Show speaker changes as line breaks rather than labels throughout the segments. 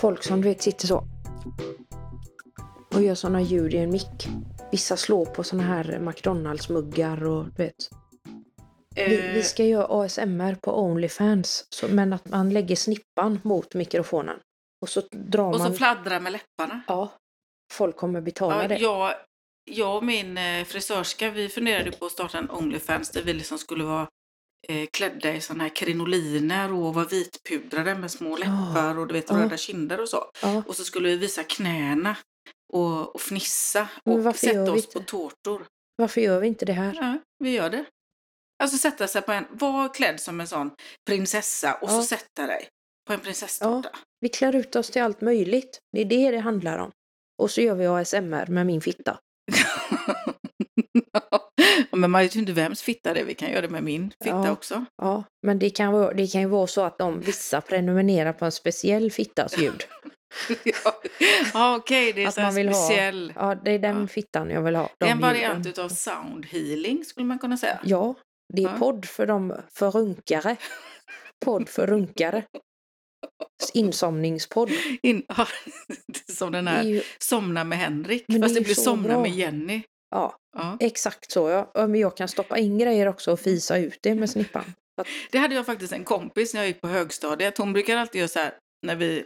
Folk som du vet sitter så och gör sådana ljud i en mick. Vissa slår på sådana här McDonalds-muggar och du vet. Vi,
Eh,
vi ska göra ASMR på Onlyfans, så, men att man lägger snippan mot mikrofonen. Och så drar
Och så
man...
fladdra med läpparna.
ja, folk kommer betala
Ja,
det.
jag, jag och min eh, frisörska, vi funderade på att starta en Onlyfans där vi liksom skulle vara eh, klädda i sådana här krinoliner och vara vitpudrade med små läppar och du vet,
Ja.
röda kinder och så.
Ja.
Och så skulle vi visa knäna och, och fnissa
Men
och
varför gör
sätta
vi
oss på
inte?
tårtor.
Varför gör vi inte det här?
Ja, vi gör det. Alltså sätta sig på en, var klädd som en sån prinsessa och så
Ja.
sätta dig på en prinsesstårta.
Vi klär ut oss till allt möjligt. Det är det det handlar om. Och så gör vi ASMR med min fitta.
Ja, Men man vet ju inte vems fitta det är, vi kan göra det med min fitta
Ja.
också.
Ja, men det kan, vara, det kan ju vara så att de vissa prenumererar på en speciell fittas ljud.
Ja, ja okej, det är
Att
så här
man vill ha-
speciell.
Ja, det är den
Ja.
fittan jag vill ha.
Det är
de Mm.
en variant
ljuden.
utav sound healing skulle man kunna säga.
Ja, det är
Ja.
podd för de för runkare. Podd för runkare. Insomningspodd.
In, ja, det är som den
Det är
här
ju,
Somna med Henrik,
Men det
fast
är
det
ju
blir
så
Somna
bra.
med Jenny.
ja,
Ja.
exakt så. Ja. Ja, Men jag kan stoppa in grejer också och fisa ut det med snippan.
Det hade jag faktiskt en kompis när jag gick på högstadiet. Hon brukar alltid göra så här när vi,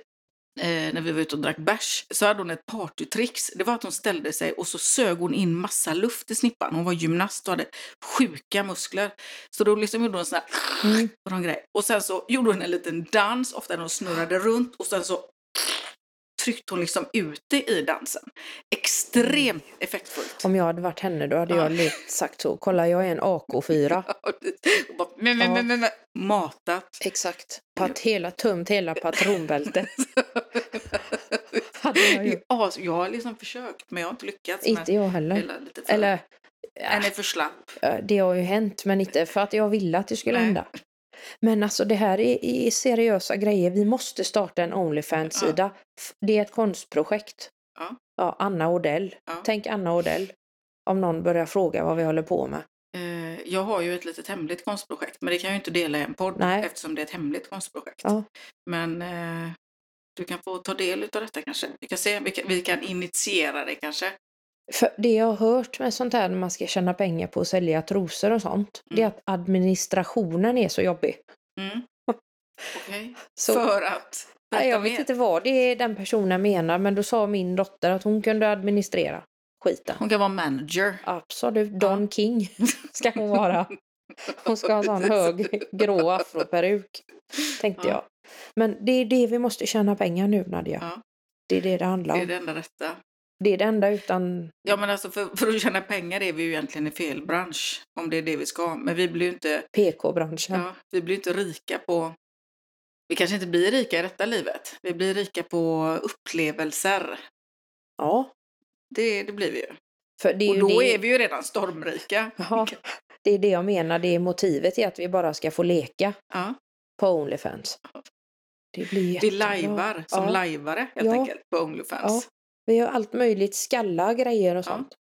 eh, när vi var ute och drack bärs. Så hade hon ett partytricks. Det var att hon ställde sig och så sög hon in massa luft i snippan. Hon var gymnast och hade sjuka muskler. Så då liksom gjorde hon sån här
Mm.
och någon grej. Och sen så gjorde hon en liten dans, ofta när hon snurrade runt och sen så tryckte hon liksom ut det i dansen. Extremt effektfullt.
Om jag hade varit henne då hade
Ja.
jag lekt sagt så. Kolla, jag är en AK4.
Och bara, men, men,
Ja.
men, men, men. Matat.
Exakt. Pat hela, tömt hela patronbältet. Hade jag ju.
Ja, så jag har liksom försökt men jag har inte lyckats.
Inte jag heller.
eller, lite för,
Eller,
Den är för slapp.
eh, det har ju hänt, men inte för att jag ville att det skulle
Nej.
hända. Men alltså det här är, är seriösa grejer. Vi måste starta en Onlyfans-sida. F- Det är ett konstprojekt.
Ja.
Anna Odell.
Ja.
Tänk Anna Odell. Om någon börjar fråga vad vi håller på med.
Eh, Jag har ju ett litet hemligt konstprojekt men det kan jag ju inte dela i en podd
Nej.
eftersom det är ett hemligt konstprojekt.
Ja.
Men eh, du kan få ta del av detta kanske. Vi kan, se, vi kan, vi kan initiera det kanske.
För det jag har hört med sånt här när man ska tjäna pengar på att sälja trosor och sånt,
Mm.
det är att administrationen är så jobbig.
Mm. Okej.
Så,
För att...
nej, jag
Berätta mer.
vet inte vad det är den personen menar, men då sa min dotter att hon kunde administrera skiten.
Hon kan vara manager.
Absolut, Don King ska hon vara. Hon ska ha en sån hög grå afroperuk, tänkte
Ja.
jag. Men det är det vi måste tjäna pengar nu, Nadia.
Ja.
Det är det det handlar
Det är
om.
det enda rätta.
Det är det enda utan...
Ja men alltså för, för att tjäna pengar är vi ju egentligen i fel bransch. Om det är det vi ska. Men vi blir ju inte,
PK-branschen.
ja, vi blir inte rika på... Vi kanske inte blir rika i detta livet. Vi blir rika på upplevelser.
Ja,
Det, det blir vi ju.
för det är
Och
ju
då
det...
är vi ju redan stormrika.
Ja, det är det jag menar. Det är motivet i att vi bara ska få leka
Ja,
på Onlyfans. Det blir
vi
jättebra.
lajvar som
ja.
lajvare helt
Ja.
enkelt på Onlyfans.
Vi gör allt möjligt, skalla grejer och
Ja.
sånt.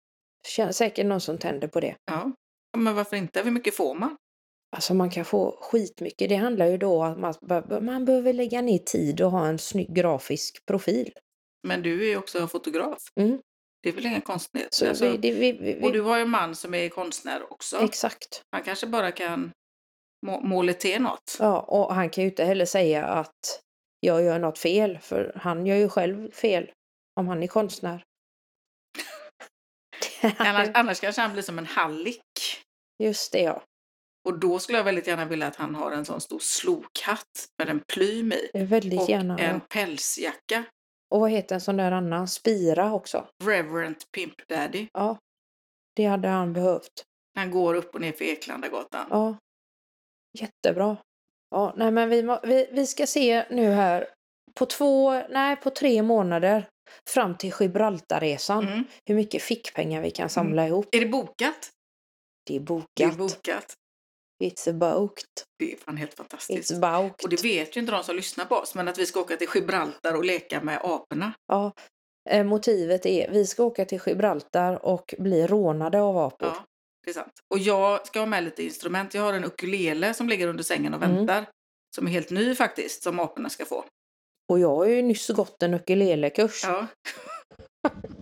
Känns säkert någon som tänder på det.
Ja. ja. Men varför inte? Hur mycket får man?
Alltså man kan få skitmycket. Det handlar ju då om att man, be- man behöver lägga ner tid och ha en snygg grafisk profil.
Men du är ju också fotograf.
Mm.
Det är väl ingen konstnär?
Så
alltså,
vi, det, vi, vi, vi,
Och du har ju en man som är konstnär också.
Exakt.
Han kanske bara kan må- måla till något.
Ja, och han kan ju inte heller säga att jag gör något fel, för han gör ju själv fel om han är konstnär.
Annars, annars kanske han blir som en hallick.
Just det, ja.
Och då skulle jag väldigt gärna vilja att han har en sån stor slokhatt med en plym i.
Det är Väldigt
Och
gärna.
en
ja.
pälsjacka.
Och vad heter en sån där annan? Spira också.
Reverend Pimp Daddy.
Ja. Det hade han behövt.
Han går upp och ner för Eklandagatan.
Ja. Jättebra. Ja, nej men vi, må, vi, vi ska se nu här. På två, nej på tre månader fram till Gibraltarresan.
Mm.
Hur mycket fickpengar vi kan samla ihop.
Är det bokat?
Det är bokat.
Det är bokat.
It's booked.
Det är fan helt fantastiskt.
It's booked.
Och det vet ju inte de som lyssnar på oss, men att vi ska åka till Gibraltar och leka med aporna.
Ja. Eh, Motivet är vi ska åka till Gibraltar och bli rånade av apor.
Ja. Det är sant. Och jag ska ha med lite instrument. Jag har en ukulele som ligger under sängen och
Mm.
väntar. Som är helt ny faktiskt, som aporna ska få.
Och jag har ju nyss gått en ukulelekurs.
Ja,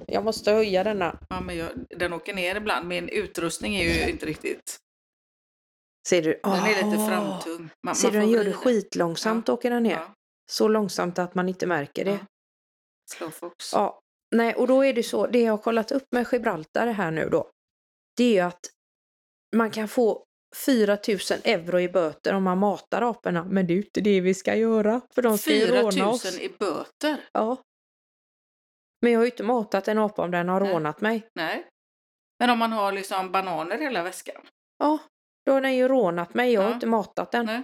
Jag måste höja denna.
ja men jag, den åker ner ibland. Min utrustning är ju inte riktigt...
Ser du?
Den är lite
Ah!
framtung. Man- Man,
Ser du, den
får
gör det
vrida.
skitlångsamt åker den ner.
Ja.
Så långsamt att man inte märker det.
Ja. Slow fox.
Ja, nej, och då är det så, det jag har kollat upp med Gibraltar här nu då, det är ju att man kan få 4 000 euro i böter om man matar aporna, men det är ju inte det vi ska göra, för de ska ju
4 000
råna oss.
i böter?
Ja. Men jag har ju inte matat en apa om den har
Nej.
rånat mig.
Nej. Men om man har liksom bananer i hela väskan?
Ja, då har den ju rånat mig, jag har
Ja.
inte matat den.
Nej.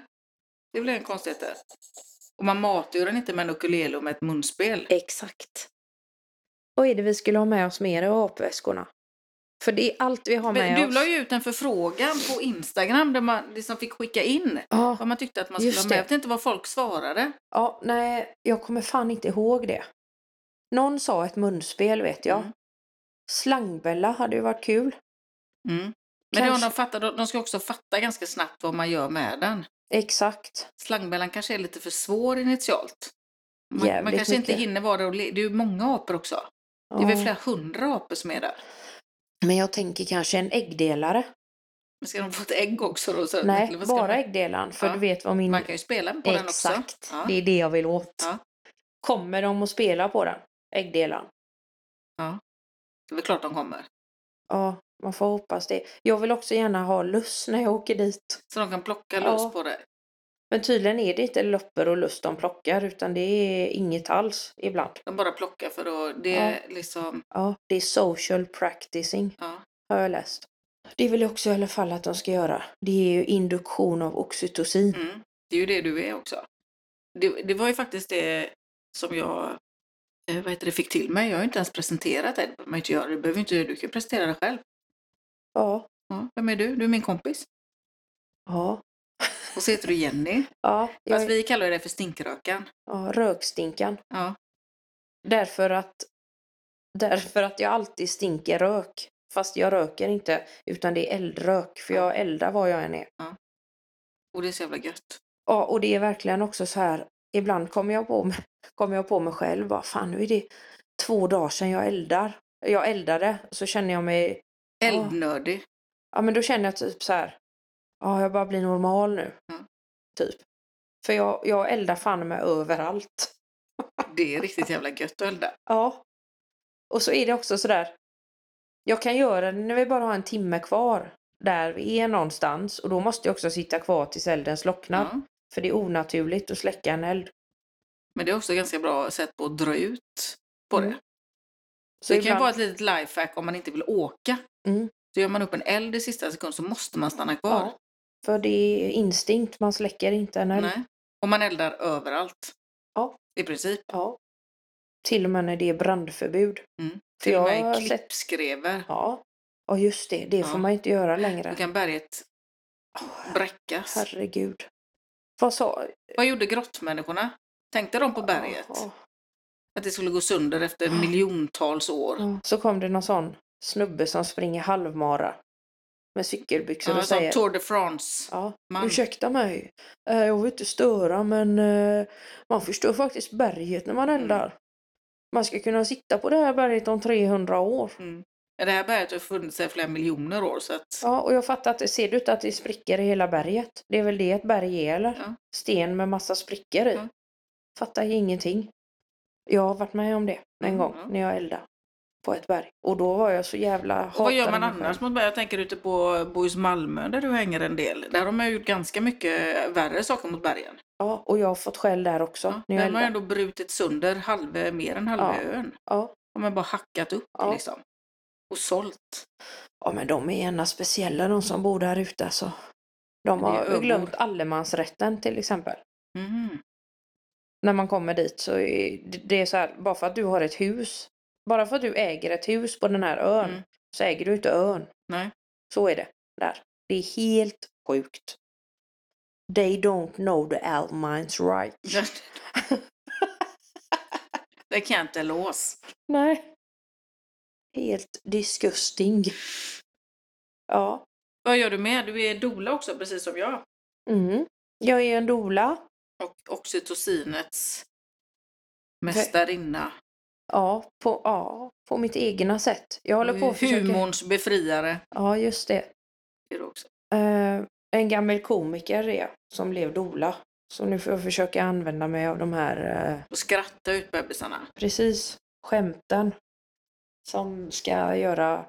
Det blir en konstighet där. Och man matar ju den inte med en ukulele och med ett munspel.
Exakt. Vad är det vi skulle ha med oss mer i apväskorna? För det är allt vi har
Men
med
du
oss.
la ju ut en förfrågan på Instagram där man liksom fick skicka in
Ja.
vad man tyckte att man skulle
Just
ha
det.
med. Jag vet inte vad folk svarade. Mm.
Ja, nej, jag kommer fan inte ihåg det. Någon sa ett munspel vet jag.
Mm.
Slangbella hade ju varit kul.
Mm. Men det har
Kanske-
de, fattar, de de ska också fatta ganska snabbt vad man gör med den.
Exakt.
Slangbällan kanske är lite för svår initialt. Man, man
Jävligt
kanske inte
mycket.
hinner vara där och le- Det är ju många apor också. Det är väl
Ja.
flera hundra apor som är där.
Men jag tänker kanske en äggdelare.
Men ska de få ett ägg också då? Så
Nej,
Mm, eller vad ska
bara
man?
äggdelaren. För
Ja.
du vet vad min...
Man kan ju spela på den också.
Exakt.
Ja.
Det är det jag vill åt.
Ja.
Kommer de att spela på den? Äggdelaren.
Det är väl klart de kommer.
Ja, man får hoppas det. Jag vill också gärna ha luss när jag åker dit.
Så de kan plocka
Ja.
loss på det.
Men tydligen är det inte lopper och lust de plockar utan det är inget alls ibland.
De bara plockar för att det är liksom...
Ja, det är social practicing.
Ja.
har jag läst. Det vill jag också i alla fall att de ska göra. Det är ju induktion av oxytocin.
Mm. Det är ju det du är också. Det, det var ju faktiskt det som jag eh, vad heter det, fick till mig. Jag har ju inte ens presenterat det. Det behöver man inte göra. Du, behöver inte, du kan presentera det själv.
Ja.
Ja. Vem är du? Du är min kompis.
Ja.
Och så heter du Jenny.
Ja, jag,
Fast vi kallar det för stinkrökan.
ja, rökstinkan.
Ja.
Därför att, därför att jag alltid stinker rök. Fast jag röker inte, utan det är eldrök. För jag eldar var jag än är.
Och det är så jävla gött.
Ja, och det är verkligen också så här. Ibland kommer jag på mig, kommer jag på mig själv. Vad fan, nu är det två dagar sedan jag eldar. Jag eldade, så känner jag mig Ja.
Eldnördig.
Ja men då känner jag typ så här. Ja jag bara blir normal nu.
Mm.
Typ. För jag, jag eldar fan med överallt.
Det är riktigt jävla gött att elda.
Ja. Och så är det också sådär. Jag kan göra det när vi bara har en timme kvar. Där vi är någonstans. Och då måste jag också sitta kvar tills elden slocknar.
Ja.
För det är onaturligt att släcka en eld.
Men det är också ganska bra sätt på att dra ut på
Mm.
det.
Så
det kan ju
ibland-
vara ett litet lifehack om man inte vill åka.
Mm.
Så gör man upp en eld i sista sekund så måste man stanna kvar.
Ja. För det är instinkt. Man släcker inte en eld.
Nej. Och man eldar överallt.
Ja.
I princip.
Ja. Till och med när det är brandförbud.
Mm.
För
Till och
jag
med
har
i
sett...
klippskrever.
Ja. Ja just det. Det
Ja.
får man inte göra
Du
längre.
kan berget
Åh,
bräckas.
Herregud. Vad sa...
Vad gjorde grottmänniskorna? Tänkte de på berget?
Ja,
Att det skulle gå sönder efter
Ja. Mm.
miljontals år?
ja. Så kom det någon sån snubbe som springer halvmara med cykelbyxor
Ja,
och
som
säger...
Tour de France.
Ja,
Man.
ursäkta mig. Eh, Jag vill inte störa men eh, man förstör faktiskt berget när man
Mm.
eldar. Man ska kunna sitta på det här berget om 300 år.
Mm. Men Det här berget har funnits i flera miljoner år. Så att...
Ja, och jag fattar att det ser du inte att det är sprickor i hela berget? Det är väl det ett berg är eller?
Ja.
Sten med massa sprickor i.
Ja.
Fattar ingenting. Jag har varit med om det en
Mm,
gång
ja.
när jag eldade på ett berg. Och då var jag så jävla
Och Vad gör
hatade
man
mig själv.
annars mot berg? Jag tänker ute på Bohus Malmö där du hänger en del. Där har man ju gjort ganska mycket värre saker mot bergen.
Ja, och jag har fått skäll där också.
Ja,
när jag
den har
eldade.
ändå brutit sönder halva, mer än halva
Ja.
ön.
Ja.
De har bara hackat upp
Ja.
liksom. Och sålt.
ja, men de är gärna speciella de som bor där ute alltså. De
Men det är
har
öbor.
ju glömt allemansrätten till exempel.
Mhm.
När man kommer dit så är det- det är så här, bara för att du har ett hus. Bara för att du äger ett hus på den här ön
Mm.
så äger du inte ön.
Nej.
Så är det där. Det är helt sjukt. They don't know the Almines right.
det kan jag inte lås.
Nej. Helt disgusting. Ja.
Vad gör du med? Du är dola också, precis som jag.
Mm. Jag är en dola.
Och oxytocinets mästarinna.
Ja på, ja, på mitt egna sätt. Jag håller på att försöka...
Humorns befriare.
Ja, just det.
Är du också.
Eh, en gammal komiker är jag, som blev dola. Så nu får jag försöka använda mig av de här, eh,
Och skratta ut bebisarna.
precis, skämten. Som ska göra...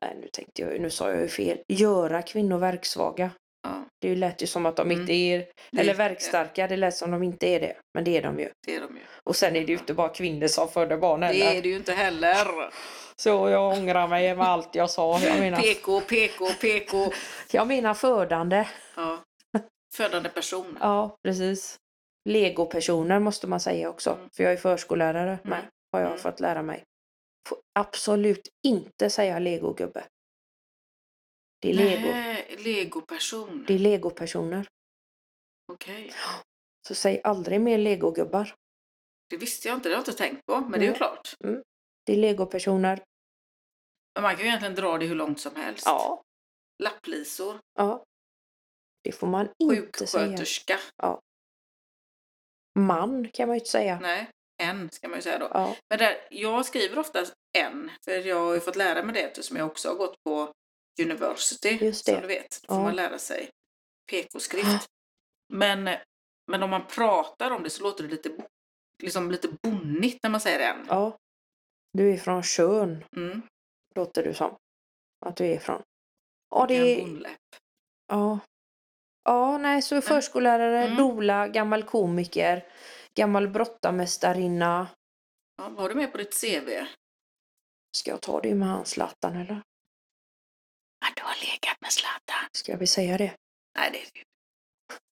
Nej, nu tänkte jag Nu sa jag ju fel. Göra kvinnor verksvaga.
Ja,
Det lät ju som att de
Mm.
inte är...
det
Eller
är-
verkstarka, det lät som de inte är det. Men det är de ju.
Det är de ju.
Och sen är det ju inte bara kvinnor som föder barn
Det är
heller.
det ju inte heller.
Så jag ångrar mig med allt jag sa. Jag menar,
PK, PK, PK.
jag menar födande.
Ja. Födande person.
Ja, precis. Legopersoner måste man säga också.
Mm.
För jag är förskollärare med,
Mm.
har jag
Mm.
fått lära mig. Får absolut inte säga legogubbe. Det är lego.
Nej, legoperson.
Det är legopersoner.
Okej.
Så säg aldrig mer legogubbar.
Det visste jag inte, det har jag inte tänkt på. Men det är ju
Nej.
klart.
Det är legopersoner.
Men man kan ju egentligen dra det hur långt som helst.
Ja.
Lapplisor,
ja. Det får man inte säga.
sjuksköterska.
Man kan man ju inte säga.
Nej, en ska man ju säga då.
Ja.
Men där, jag skriver oftast en, för jag har ju fått lära mig det eftersom jag också har gått på university.
Just det.
Som du vet, då får
Ja.
man lära sig PK-skrift. Men, men om man pratar om det så låter det lite, bo- liksom lite bonnigt när man säger en.
ja. Du är från Tjörn,
Mm,
låter du som. Att du är från. Ja,
en
det är
bonläpp.
Ja. Ja, nej, så förskollärare,
Mm.
dola, gammal komiker, gammal brottamästarinna.
Ja, vad har du med på ditt CV?
Ska jag ta det med han Zlatan eller?
Att du har legat med Zlatan.
Ska vi säga det?
Nej, det är det ju.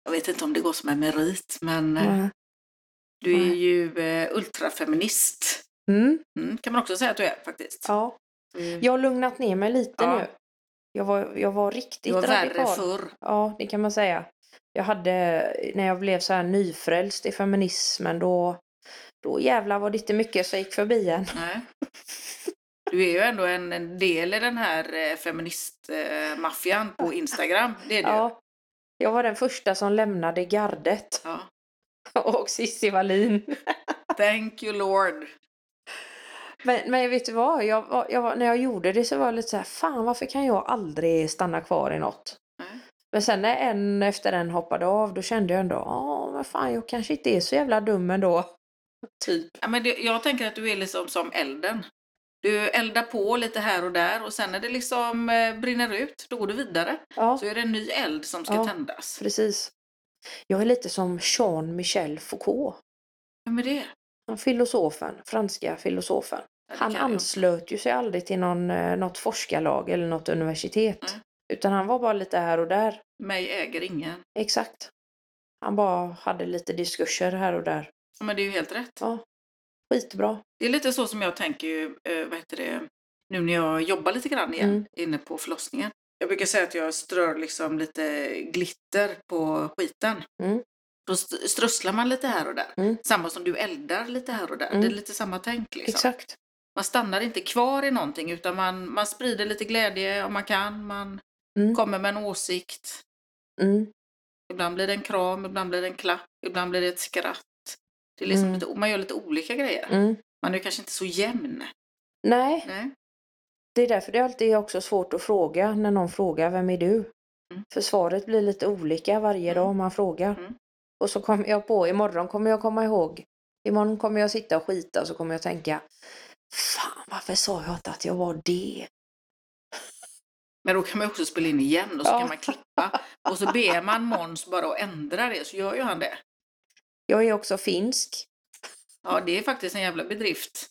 Jag vet inte om det går som en merit, men eh,
Nej.
du är
Nej.
ju eh, ultrafeminist.
Mm,
Mm, kan man också säga att du är faktiskt.
ja.
Mm.
Jag har lugnat ner mig lite
Ja.
nu. Jag var, jag var
Det
riktigt
var värre
radikal.
förr.
Ja, det kan man säga. Jag hade, när jag blev så här nyfrälst i feminismen, då, då jävlar var det inte mycket som gick förbi en.
Nej. Du är ju ändå en, en del i den här eh, feministmaffian på Instagram. Det är du.
Ja. Jag var den första som lämnade gardet.
Ja.
Och Cissi Wallin.
Thank you Lord.
Men, men vet du vad? Jag, var- jag, var- när jag gjorde det så var jag lite så här, fan varför kan jag aldrig stanna kvar i något?
Nej.
Men sen när en efter en hoppade av, då kände jag ändå, ja men fan jag kanske inte är så jävla dum ändå. Typ.
Ja, men det, jag tänker att du är liksom som elden. Du eldar på lite här och där och sen när det liksom eh, brinner ut, då går du vidare.
Ja,
Så är det en ny eld som ska
Ja.
tändas.
precis. Jag är lite som Jean-Michel Foucault,
Vem är det?
den filosofen, franska filosofen.
Ja, det
Han
kan jag.
anslöt ju sig aldrig till någon, eh, något forskarlag eller något universitet.
Nej.
Utan han var bara lite här och där.
Mig äger ingen.
Exakt. Han bara hade lite diskurser här och där.
Ja, men det är ju helt rätt.
Skitbra.
Det är lite så som jag tänker ju, eh, vad heter det, nu när jag jobbar lite grann igen
Mm.
inne på förlossningen. Jag brukar säga att jag strör liksom lite glitter på skiten.
Mm.
Då st- strösslar man lite här och där.
Mm.
Samma som du eldar lite här och där.
Mm.
Det är lite samma tänk. Liksom.
Exakt.
Man stannar inte kvar i någonting utan man, man sprider lite glädje om man kan. Man
Mm.
kommer med en åsikt.
Mm.
Ibland blir det en kram, ibland blir det en klapp, ibland blir det ett skratt. Det är liksom
Mm.
lite, man gör lite olika grejer.
Mm.
Man är kanske inte så jämn.
Nej,
Nej.
det är därför det alltid är också svårt att fråga när någon frågar vem är du?
Mm.
För svaret blir lite olika varje
Mm.
dag om man frågar.
Mm.
Och så kommer jag på, imorgon kommer jag komma ihåg. Imorgon kommer jag sitta och skita så kommer jag tänka Fan, varför sa jag inte att jag var det?
Men då kan man ju också spela in igen och så
Ja.
kan man klippa. Och så ber man Måns bara att ändra det så gör ju han det.
Jag är också finsk.
Ja, det är faktiskt en jävla bedrift.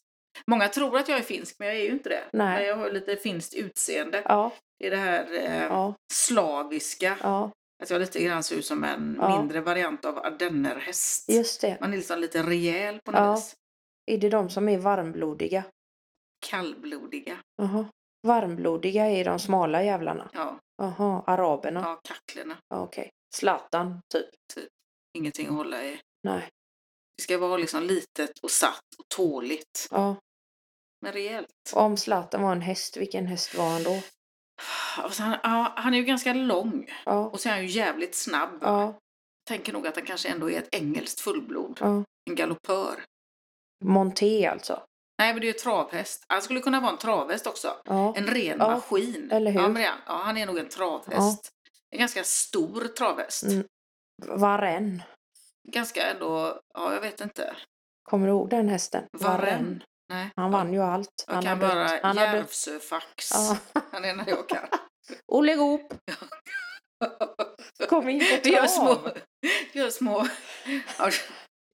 Många tror att jag är finsk men jag är ju inte det.
Nej.
Men jag har lite finskt utseende.
Ja,
Det är det här eh,
ja,
slaviska.
ja.
Att jag lite grann ser ut som en
Ja.
mindre variant av ardennerhäst.
Just det.
Man är liksom lite rejäl på något
Ja.
vis.
Är det de som är varmblodiga?
Kallblodiga.
Jaha. Varmblodiga är de smala jävlarna.
Ja,
Jaha, araberna.
ja kacklorna.
Ja. Okej. Zlatan, typ.
Ingenting att hålla i.
Nej.
Det ska vara liksom litet och satt och tåligt.
Ja.
Men rejält.
Om Zlatan var en häst, vilken häst var han då?
Alltså, han, ja, han är ju ganska lång
Ja,
och så är han ju jävligt snabb.
ja,
Tänker nog att han kanske ändå är ett engelskt fullblod.
ja.
En galoppör.
Monté alltså.
Nej, men det är ju travhäst. Han skulle kunna vara en travhäst också.
Ja,
En ren
Ja,
maskin.
eller hur?
Ja, men det är han. ja, han är nog en travhäst. En ganska stor travhäst.
Mm. Varenne.
Ganska ändå, ja jag vet inte.
Kommer du ihåg den hästen? Varenne.
Varenne. Nej.
Han vann ju allt.
Jag
han
kan
har dött.
bara
Han har dött.
Järvsöfax.
Ja.
Han är när jag kan.
Olle Goop! Kom in på
Vi gör små,
trav!
vi gör små ja,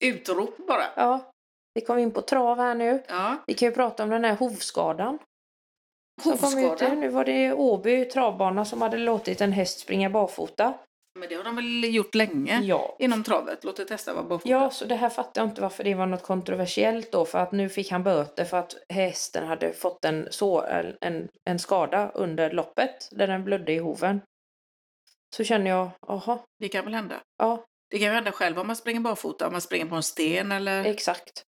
utrop bara.
Ja, vi kom in på trav här nu.
Ja.
Vi kan ju prata om den här hovskadan. som kom ut
Hovskada.
nu. Nu var det Åby travbana som hade låtit en häst springa barfota.
Men det har de väl gjort länge
Ja.
inom travet. Låt det testa vara barfota.
Ja, så det här fattar jag inte varför det var något kontroversiellt då. För att nu fick han böter för att hästen hade fått en, så, en, en skada under loppet där den blödde i hoven. Så känner jag, jaha,
Det kan väl hända.
ja,
Det kan ju hända själv om man springer barfota, om man springer på en sten eller...
exakt.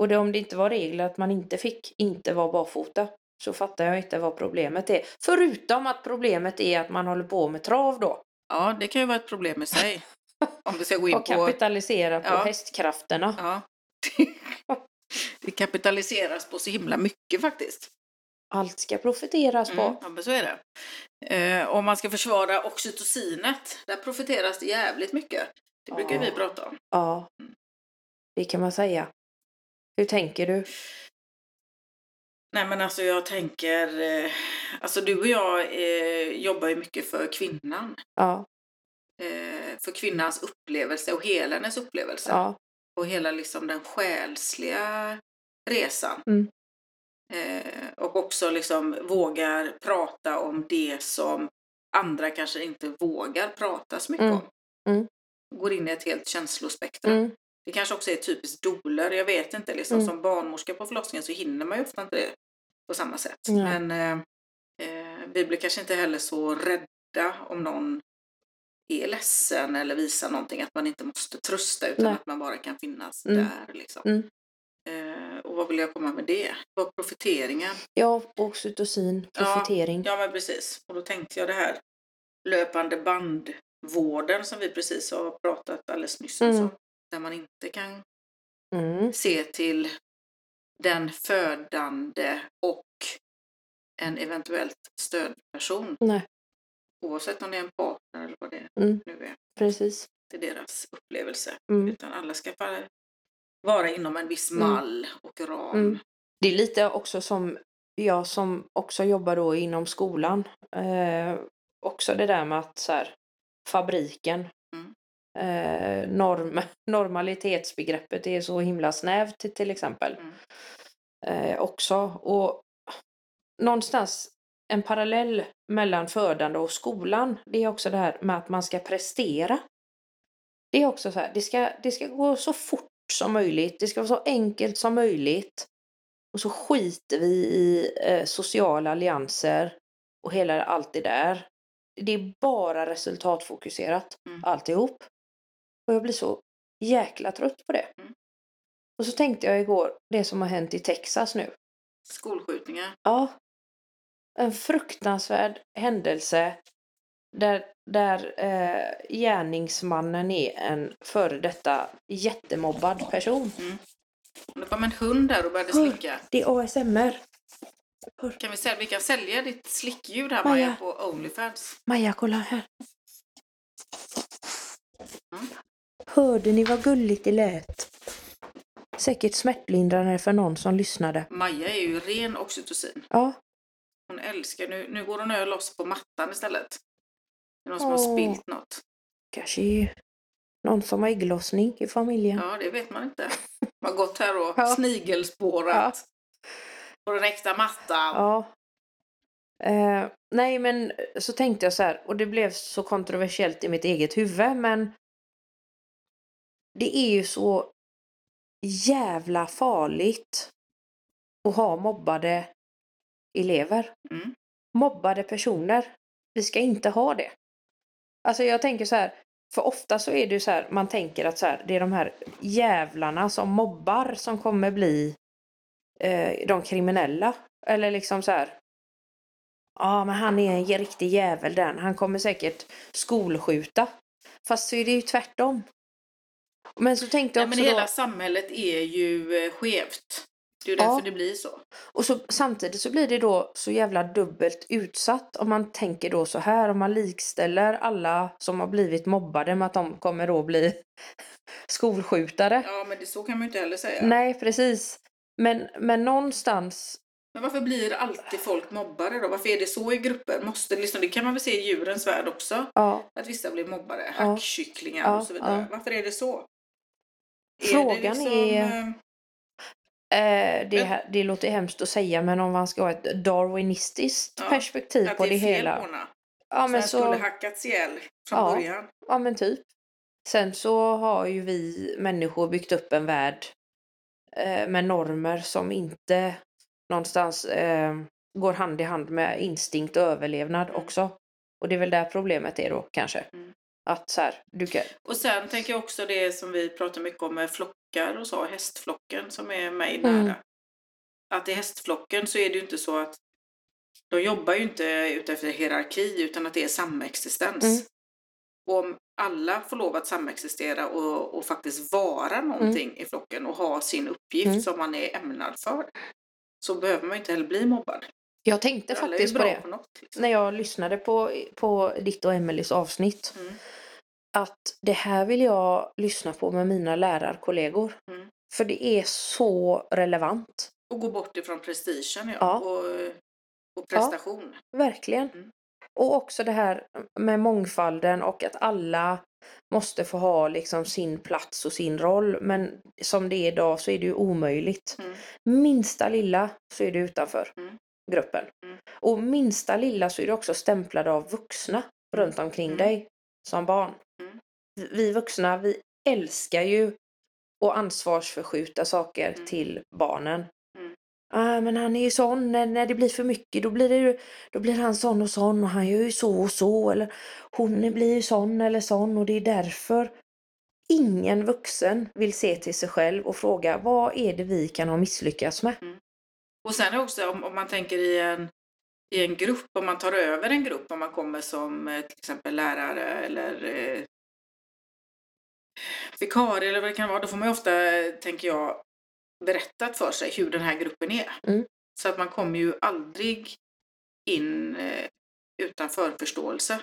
Och det, om det inte var regler att man inte fick inte vara barfota så fattar jag inte vad problemet är. Förutom att problemet är att man håller på med trav då.
Ja, det kan ju vara ett problem i sig. Om vi ska gå in
Och
på...
kapitalisera på
Ja.
hästkrafterna.
Ja. Det kapitaliseras på så himla mycket faktiskt.
Allt ska profiteras
Mm,
på.
ja, men så är det. Eh, om man ska försvara oxytocinet, där profiteras det jävligt mycket. Det brukar
Ja.
vi prata om.
Ja,
Mm.
det kan man säga. Hur tänker du?
Nej men alltså jag tänker, eh, alltså du och jag eh, jobbar ju mycket för kvinnan.
Ja,
Eh, för kvinnans upplevelse och hela hennes upplevelse.
ja,
Och hela liksom den själsliga resan.
Mm.
Eh, och också liksom vågar prata om det som andra kanske inte vågar prata så mycket
Mm.
om.
Mm.
Går in i ett helt känslospektra.
mm,
Det kanske också är typiskt doler, jag vet inte. Liksom,
Mm.
Som barnmorska på förlossningen så hinner man ju ofta inte det på samma sätt.
Nej.
Men eh, eh, vi blir kanske inte heller så rädda om någon är ledsen eller visar någonting, att man inte måste trösta utan
Nej.
att man bara kan finnas
Mm.
där. Liksom.
Mm.
Eh, och vad vill jag komma med det? Vad profiteringen?
ja, oxytocin, profitering.
Ja men precis, och då tänkte jag det här löpande bandvården som vi precis har pratat alldeles nyss om.
Mm.
så, Där man inte kan
Mm,
se till den födande och en eventuellt stödperson.
Nej.
Oavsett om det är en partner eller vad det
Mm.
nu är.
precis.
Det är deras upplevelse.
Mm.
Utan alla ska bara vara inom en viss
Mm.
mall och ram.
Mm. Det är lite också som jag som också jobbar då inom skolan. Eh, också det där med att så här, fabriken,
Mm.
eh, norm, normalitetsbegreppet är så himla snävt till, till exempel.
Mm.
Eh, också. Och någonstans en parallell mellan födande och skolan, det är också det här med att man ska prestera. Det är också så här, det ska, det ska gå så fort som möjligt, det ska vara så enkelt som möjligt. Och så skiter vi i eh, sociala allianser och hela allt det där. Det är bara resultatfokuserat,
Mm.
alltihop. Och jag blir så jäkla trött på det.
Mm.
Och så tänkte jag igår, det som har hänt i Texas nu.
Skolskjutningar.
Ja. En fruktansvärd händelse där, där eh, gärningsmannen är en före detta jättemobbad person.
Och Det kom en hund där och började
Hör.
slicka.
Det är ASMR.
Kan vi, sälja, vi kan sälja ditt slickljud här
Maja.
Maja på Onlyfans.
Maja, kolla här.
Mm.
Hörde ni vad gulligt det lät? Säkert smärtlindrande för någon som lyssnade.
Maja är ju ren oxytocin.
Ja,
Hon älskar, nu, nu går hon över loss på mattan istället. Det är någon som
Åh.
har spilt något.
kanske är någon som har ägglossning i familjen.
Ja, det vet man inte. Man har gått här och
Mm. Ja.
snigelspårat. På den äkta mattan.
Ja. Eh, nej, men så tänkte jag så här, och det blev så kontroversiellt i mitt eget huvud, men det är ju så jävla farligt att ha mobbade elever.
Mm.
Mobbade personer. Vi ska inte ha det. Alltså jag tänker så här, för ofta så är det ju så här, man tänker att så här, det är de här jävlarna som mobbar som kommer bli eh, de kriminella. Eller liksom så här. Ja, men han är en riktig jävel den. Han kommer säkert skolskjuta. Fast så är det ju tvärtom. Men så tänkte
Nej,
jag
men
också
hela
då,
samhället är ju eh, skevt. Det är ju
Ja.
därför det blir så.
och så, samtidigt så blir det då så jävla dubbelt utsatt om man tänker då så här om man likställer alla som har blivit mobbade med att de kommer då bli skolskjutare.
Ja, men det, så kan man ju inte heller säga.
Nej, precis. Men, men någonstans
Men varför blir alltid folk mobbare då? Varför är det så i grupper? Måste, liksom, det kan man väl se i djurens värld också.
ja,
Att vissa blir mobbare.
Ja.
Hackkycklingar
Ja,
och så vidare.
ja.
Varför är det så?
Frågan
är... Det liksom,
är-
eh,
Eh, det,
Men-
här- det låter hemskt att säga men om man ska ha ett darwinistiskt
Ja,
perspektiv
att
på
det är
det,
fel på
hela.
henne?
Ja
så
men,
han skulle
så,
hackats ihjäl från
Ja.
början.
ja men typ. Sen så har ju vi människor byggt upp en värld eh, med normer som inte någonstans eh, går hand i hand med instinkt och överlevnad
Mm.
också. Och det är väl där problemet är då kanske.
Mm.
Att så här, du kan,
Och sen tänker jag också det som vi pratar mycket om med flockar och så, hästflocken som är mig nära.
Mm.
Att i hästflocken så är det ju inte så att de jobbar ju inte utefter hierarki utan att det är samexistens.
Mm.
Och om alla får lov att samexistera och, och faktiskt vara någonting i flocken och ha sin uppgift
Mm.
som man är ämnad för så behöver man ju inte heller bli mobbad.
jag tänkte
alla är ju
faktiskt på
bra
det.
på något. Liksom.
När jag lyssnade på, på ditt och Emelies avsnitt
Mm.
att det här vill jag lyssna på med mina lärarkollegor.
Mm.
För det är så relevant.
Och gå bort ifrån prestigen ja.
Ja.
Och, och prestation.
Verkligen.
Mm.
Och också det här med mångfalden och att alla måste få ha liksom sin plats och sin roll. Men som det är idag så är det ju omöjligt.
Mm.
Minsta lilla så är du utanför
Mm.
gruppen.
Mm.
Och minsta lilla så är du också stämplad av vuxna runt omkring
Mm.
dig som barn.
Mm.
Vi vuxna, vi älskar ju att ansvarsförskjuta saker
Mm.
till barnen.
Mm.
Ah, men han är ju sån, när, när det blir för mycket då blir, det, ju- då blir han sån och sån och han gör ju så och så eller hon blir ju sån eller sån och det är därför. Ingen vuxen vill se till sig själv och fråga vad är det vi kan ha misslyckats med?
Och sen är också om, om man tänker i en, i en grupp, om man tar över en grupp, om man kommer som eh, till exempel lärare eller eh, vikarie eller vad det kan vara, då får man ju ofta, eh, tänker jag, berättat för sig hur den här gruppen är.
Mm.
Så att man kommer ju aldrig in eh, utan förförståelse.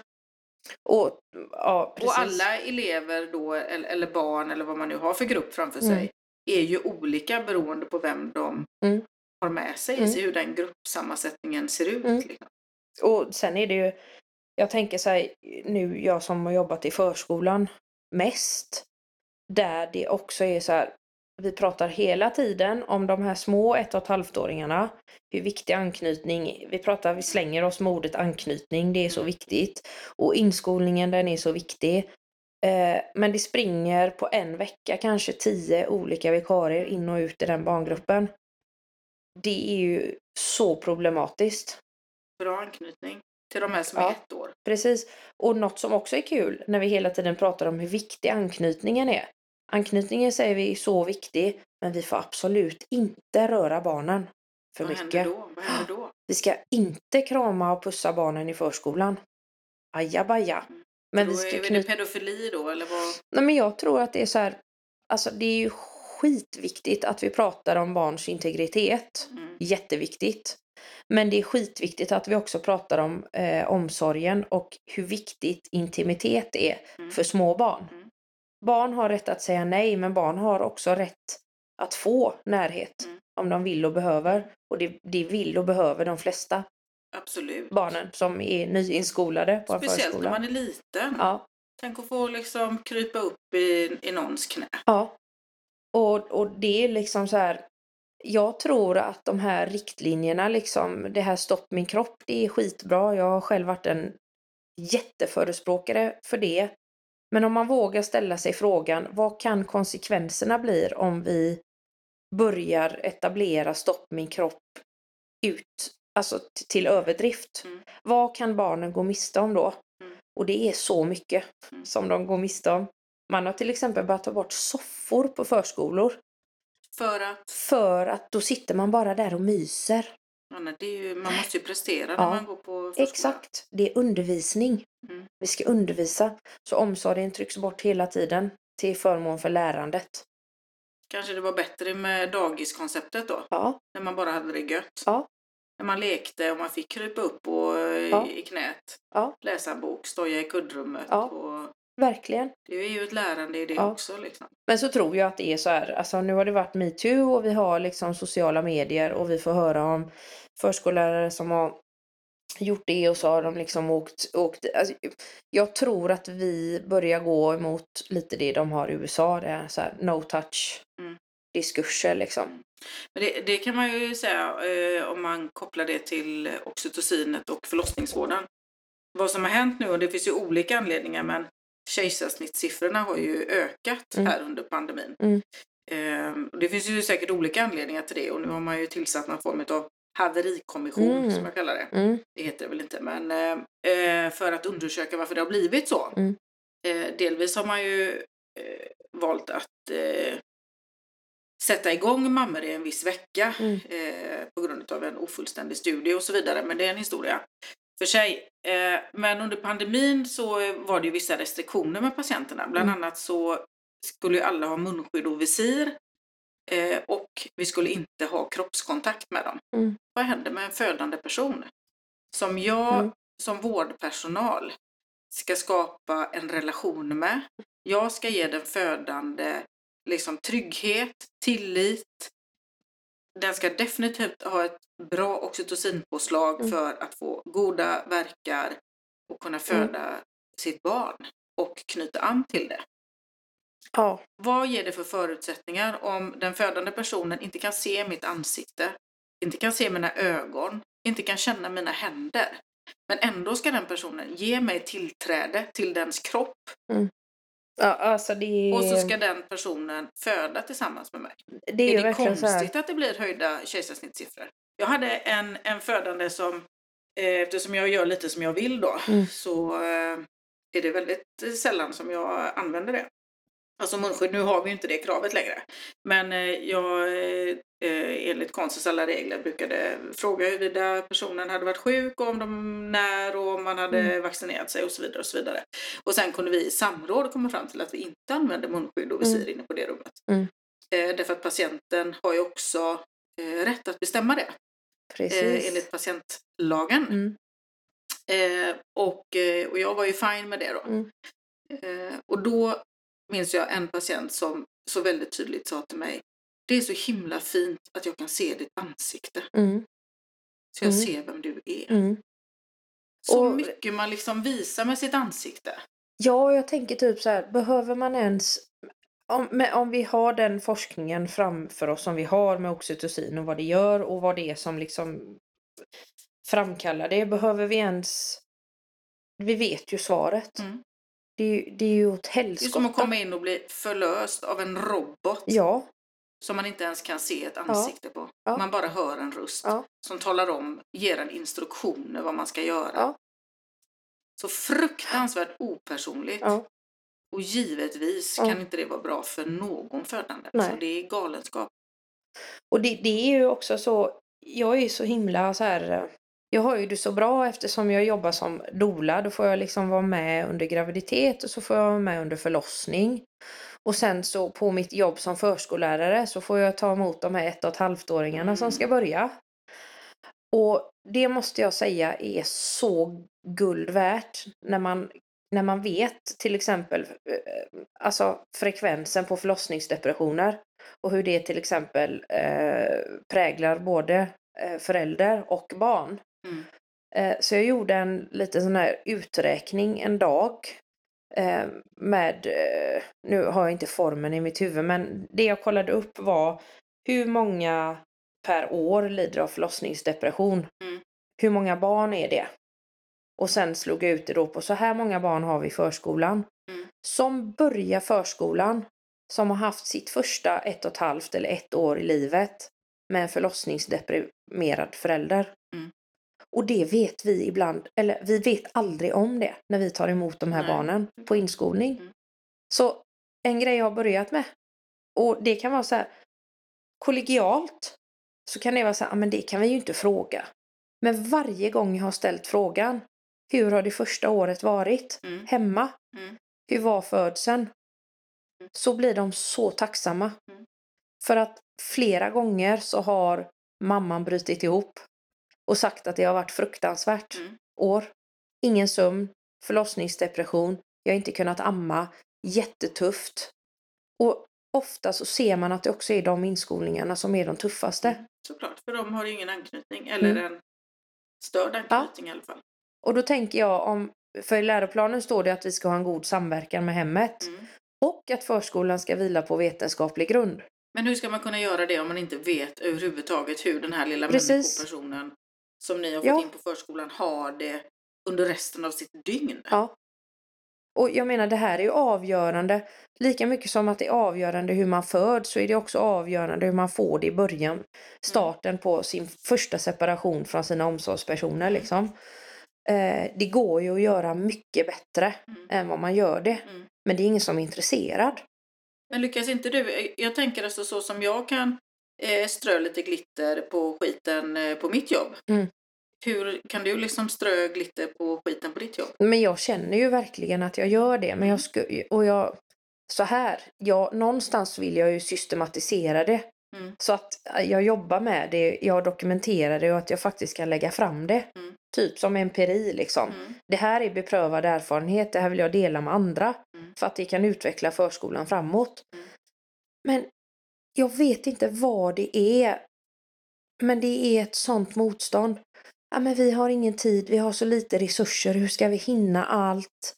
Och, ja, precis.
Och alla elever då, eller, eller barn eller vad man nu har för grupp framför
Mm.
sig, är ju olika beroende på vem de
Mm.
har med sig,
Mm.
så hur den gruppsammansättningen ser ut.
Mm.
Liksom.
Och sen är det ju, jag tänker så här, nu jag som har jobbat i förskolan mest, där det också är så här, vi pratar hela tiden om de här små ett och ett halvt-åringarna, hur viktig anknytning, vi pratar, vi slänger oss med ordet anknytning, det är så viktigt, och inskolningen den är så viktig. Eh, Men det springer på en vecka kanske tio olika vikarier in och ut i den barngruppen. Det är ju så problematiskt.
Bra anknytning till de här som
Ja.
är ett år.
Precis. Och något som också är kul när vi hela tiden pratar om hur viktig anknytningen är. Anknytningen säger vi är så viktig, men vi får absolut inte röra barnen för
Vad händer
mycket.
då? Vad händer då?
Vi ska inte krama och pussa barnen i förskolan. Ajabaja.
Mm.
Men
då
vi ska
är, är det
knyta...
pedofili då eller vad?
Nej, men jag tror att det är så här, alltså det är ju skitviktigt att vi pratar om barns integritet.
Mm.
Jätteviktigt. Men det är skitviktigt att vi också pratar om eh, omsorgen och hur viktigt intimitet är
Mm.
för små barn.
Mm.
Barn har rätt att säga nej, men barn har också rätt att få närhet
Mm.
om de vill och behöver. Och det, det vill och behöver de flesta
Absolut.
barnen som är nyinskolade på en
Speciellt
förskola.
när man är liten.
Ja,
Tänk att få liksom krypa upp i, i någons knä.
ja. Och, och det är liksom så här. Jag tror att de här riktlinjerna, liksom, det här stopp min kropp, det är skitbra. Jag har själv varit en jätteförespråkare för det. Men om man vågar ställa sig frågan, vad kan konsekvenserna bli om vi börjar etablera stopp min kropp ut, alltså t- till överdrift?
Mm.
Vad kan barnen gå miste om då?
Mm.
Och det är så mycket
Mm.
som de går miste om. Man har till exempel börjat ta bort soffor på förskolor
För att
för att då sitter man bara där och myser.
Ja, nej, det är ju, man måste ju prestera
Ja.
när man går på förskola.
Exakt, det är undervisning.
Mm.
Vi ska undervisa. Så omsorgen trycks bort hela tiden till förmån för lärandet.
Kanske det var bättre med dagiskonceptet då,
Ja,
när man bara hade det gött.
Ja.
När man lekte och man fick krypa upp och, eh,
Ja.
i knät,
Ja.
läsa en bok, stoja i kuddrummet.
Ja.
Och,
verkligen.
det är ju ett lärande i det
Ja.
också. Liksom.
Men så tror jag att det är så här, alltså nu har det varit metoo och vi har liksom sociala medier och vi får höra om förskollärare som har gjort det och så har de liksom åkt, åkt alltså, jag tror att vi börjar gå emot lite det de har i USA, det är så här no touch
Mm.
diskurser liksom.
Men det, det kan man ju säga eh, om man kopplar det till oxytocinet och förlossningsvården. Vad som har hänt nu, och det finns ju olika anledningar, men kejsarsnittssiffrorna har ju ökat
Mm.
här under pandemin.
Mm.
Eh, och det finns ju säkert olika anledningar till det och nu har man ju tillsatt någon form av haverikommission
Mm.
som jag kallar det.
Mm,
Det heter det väl inte, men eh, eh, för att undersöka varför det har blivit så.
Mm.
Eh, delvis har man ju eh, valt att eh, sätta igång mammor i en viss vecka
Mm.
eh, på grund av en ofullständig studie och så vidare. Men det är en historia för sig. Eh, men under pandemin så eh, var det ju vissa restriktioner med patienterna. Bland
Mm.
annat så skulle ju alla ha munskydd och visir eh, och vi skulle inte ha kroppskontakt med dem.
Mm.
Vad hände med en födande person? Som jag
Mm.
som vårdpersonal ska skapa en relation med. Jag ska ge den födande liksom trygghet, tillit. Den ska definitivt ha ett bra oxytocinpåslag
Mm.
för att få goda verkar och kunna föda sitt barn och knyta an till det.
ja,
Vad ger det för förutsättningar om den födande personen inte kan se mitt ansikte, inte kan se mina ögon, inte kan känna mina händer? Men ändå ska den personen ge mig tillträde till dens kropp
ja, alltså det är,
och så ska den personen föda tillsammans med mig.
det är,
är
ju
det
verkligen så här.
konstigt att det blir höjda kejsarsnittssiffror? Jag hade en, en födande som, eh, eftersom jag gör lite som jag vill då,
Mm.
så eh, är det väldigt eh, sällan som jag använder det. Alltså munskydd, nu har vi ju inte det kravet längre. Men eh, jag, eh, eh, enligt konstens alla regler, brukade fråga huruvida personen hade varit sjuk, och om de, när och om man hade
Mm.
vaccinerat sig och så vidare. Och så vidare. Och sen kunde vi i samråd komma fram till att vi inte använde munskydd och visir
Mm.
inne på det rummet.
Mm.
Eh, därför att patienten har ju också eh, rätt att bestämma det eh,
Precis.
enligt patientlagen.
Mm.
Eh, och, eh, och jag var ju fine med det då.
Mm.
Eh, och då minns jag en patient som så väldigt tydligt sa till mig det är så himla fint att jag kan se ditt ansikte
Mm.
så jag
Mm.
ser vem du är.
Mm.
Så
Och-
mycket man liksom visar med sitt ansikte.
Ja, jag tänker typ så här, behöver man ens... Om, men om vi har den forskningen framför oss som vi har med oxytocin och vad det gör och vad det är som liksom framkallar det, behöver vi ens... Vi vet ju svaret.
Mm.
Det, är ju- det är ju åt
Det är
helskotta.
som att komma in och bli förlöst av en robot
Ja,
som man inte ens kan se ett ansikte på.
Ja.
Man bara hör en röst
Ja.
som talar om, ger en instruktioner vad man ska göra.
Ja.
Så fruktansvärt opersonligt.
ja,
Och givetvis
Ja.
kan inte det vara bra för någon födande.
Nej.
Så det är galenskap.
och det, det är ju också så... Jag är så himla så här... eh, Jag har ju det så bra eftersom jag jobbar som doula. Då får jag liksom vara med under graviditet och så får jag vara med under förlossning. Och sen så på mitt jobb som förskollärare så får jag ta emot de här ett och ett halvt-åringarna som
Mm.
ska börja. Och det måste jag säga är så guld värt när man, när man vet till exempel eh, alltså frekvensen på förlossningsdepressioner och hur det till exempel eh, präglar både eh, förälder och barn.
Mm.
Eh, så jag gjorde en liten sån här uträkning en dag eh, med, eh, nu har jag inte formen i mitt huvud, men det jag kollade upp var hur många per år lider av förlossningsdepression.
Mm.
Hur många barn är det? Och sen slog jag ut det då på så här många barn har vi i förskolan.
Mm.
Som börjar förskolan, som har haft sitt första ett och ett halvt eller ett år i livet med en förlossningsdeprimerad förälder.
Mm.
Och det vet vi ibland, eller vi vet aldrig om det när vi tar emot de här
Nej.
barnen på inskolning.
Mm.
Så en grej jag har börjat med, och det kan vara så här kollegialt, Så kan det vara så här, "Ah, men det kan vi ju inte fråga. Men varje gång jag har ställt frågan, hur har det första året varit?
Mm.
Hemma?
Mm.
Hur var födseln? Så blir de så tacksamma.
Mm.
För att flera gånger så har mamman brutit ihop och sagt att det har varit fruktansvärt
Mm.
år. Ingen sömn, förlossningsdepression, jag har inte kunnat amma, jättetufft. Och ofta så ser man att det också är de inskolningarna som är de
Mm.
tuffaste.
Såklart, för de har ju ingen anknytning. Eller
Mm.
en störd anknytning i alla fall.
Och då tänker jag om, för i läroplanen står det att vi ska ha en god samverkan med hemmet
Mm.
och att förskolan ska vila på vetenskaplig grund.
Men hur ska man kunna göra det om man inte vet överhuvudtaget hur den här lilla
Precis.
människopersonen som ni har fått
Ja.
in på förskolan har det under resten av sitt dygn?
Ja. Och jag menar det här är ju avgörande. Lika mycket som att det är avgörande hur man föds så är det också avgörande hur man får det i
Mm.
början. Starten på sin första separation från sina omsorgspersoner
Mm.
liksom. Eh, det går ju att göra mycket bättre
Mm.
än vad man gör det.
Mm.
Men det är ingen som är intresserad.
Men lyckas inte du? Jag tänker alltså så som jag kan eh, strö lite glitter på skiten eh, på mitt jobb.
Mm.
Hur kan du liksom strö glitter på skiten på ditt jobb?
Men jag känner ju verkligen att jag gör det. Men jag
Mm.
sku- och jag, så här, jag, någonstans vill jag ju systematisera det.
Mm.
Så att äh, jag jobbar med det, jag dokumenterar det och att jag faktiskt kan lägga fram det.
Mm.
Typ som empiri liksom.
Mm.
Det här är beprövad erfarenhet, det här vill jag dela med andra.
Mm.
För att det kan utveckla förskolan framåt.
Mm.
Men jag vet inte vad det är. Men det är ett sånt motstånd. Ja, men vi har ingen tid, vi har så lite resurser, hur ska vi hinna allt?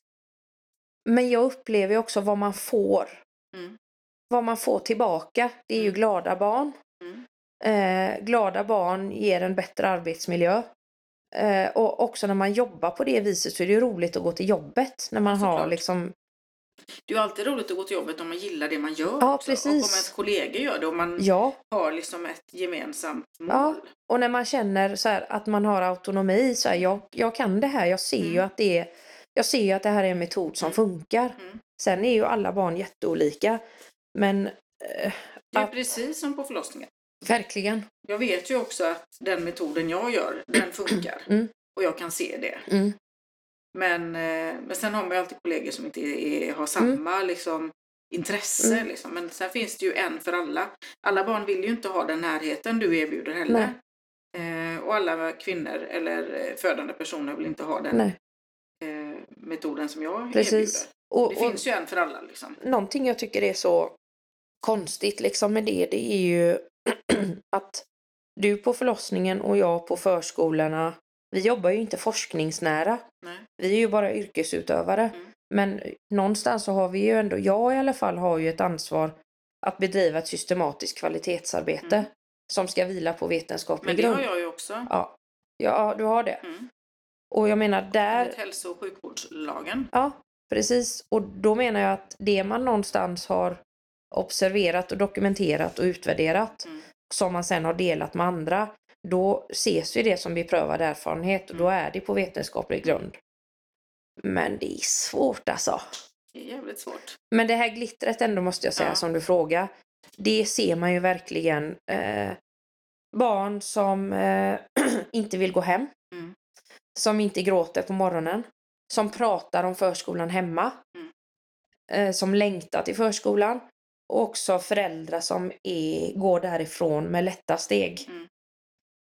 Men jag upplever ju också vad man får.
Mm.
Vad man får tillbaka, det är ju
Mm.
glada barn.
Mm.
Eh, glada barn ger en bättre arbetsmiljö. Eh, och också när man jobbar på det viset så är det ju roligt att gå till jobbet. När man har
Såklart. Mm.
liksom...
Det är ju alltid roligt att gå till jobbet om man gillar det man gör.
Ja,
också.
precis.
Och om ens kollegor gör det och man
Ja.
har liksom ett gemensamt mål.
Ja, och när man känner så här, att man har autonomi, så här, jag, jag kan det här, jag ser ju
Mm.
att det är, jag ser ju att det här är en metod som
Mm.
funkar.
Mm.
Sen är ju alla barn jätteolika, men eh,
det är
att-
precis som på förlossningen.
verkligen.
Jag vet ju också att den metoden jag gör, den funkar.
Mm.
Och jag kan se det.
Mm.
Men, eh, men sen har man ju alltid kollegor som inte är, har samma liksom, intresse.
Mm.
Liksom. Men sen finns det ju en för alla. Alla barn vill ju inte ha den närheten du erbjuder heller. Eh, och alla kvinnor eller eh, födande personer vill inte ha den
Nej,
eh, metoden som jag
precis.
erbjuder.
Och,
Det
och
finns ju en för alla. Liksom.
någonting jag tycker är så konstigt liksom med det, det är ju att du på förlossningen och jag på förskolorna, vi jobbar ju inte forskningsnära.
Nej.
Vi är ju bara yrkesutövare.
Mm.
Men någonstans så har vi ju ändå, jag i alla fall har ju ett ansvar att bedriva ett systematiskt kvalitetsarbete
Mm.
som ska vila på vetenskaplig
Men det
grund.
har jag ju också.
Ja. ja, du har det.
Mm.
Och jag menar där,
Enligt hälso och sjukvårdslagen.
ja precis. Och då menar jag att det man någonstans har observerat och dokumenterat och utvärderat
Mm.
som man sen har delat med andra, då ses ju det som beprövad erfarenhet och då är det på vetenskaplig grund. Men det är svårt alltså.
Det är jävligt svårt.
Men det här glittret ändå måste jag säga
Ja.
som du frågar. Det ser man ju verkligen. Eh, barn som eh, inte vill gå hem.
Mm.
Som inte gråter på morgonen. Som pratar om förskolan hemma.
Mm.
Eh, som längtar till förskolan. Och också föräldrar som är, går därifrån med lätta steg.
Mm.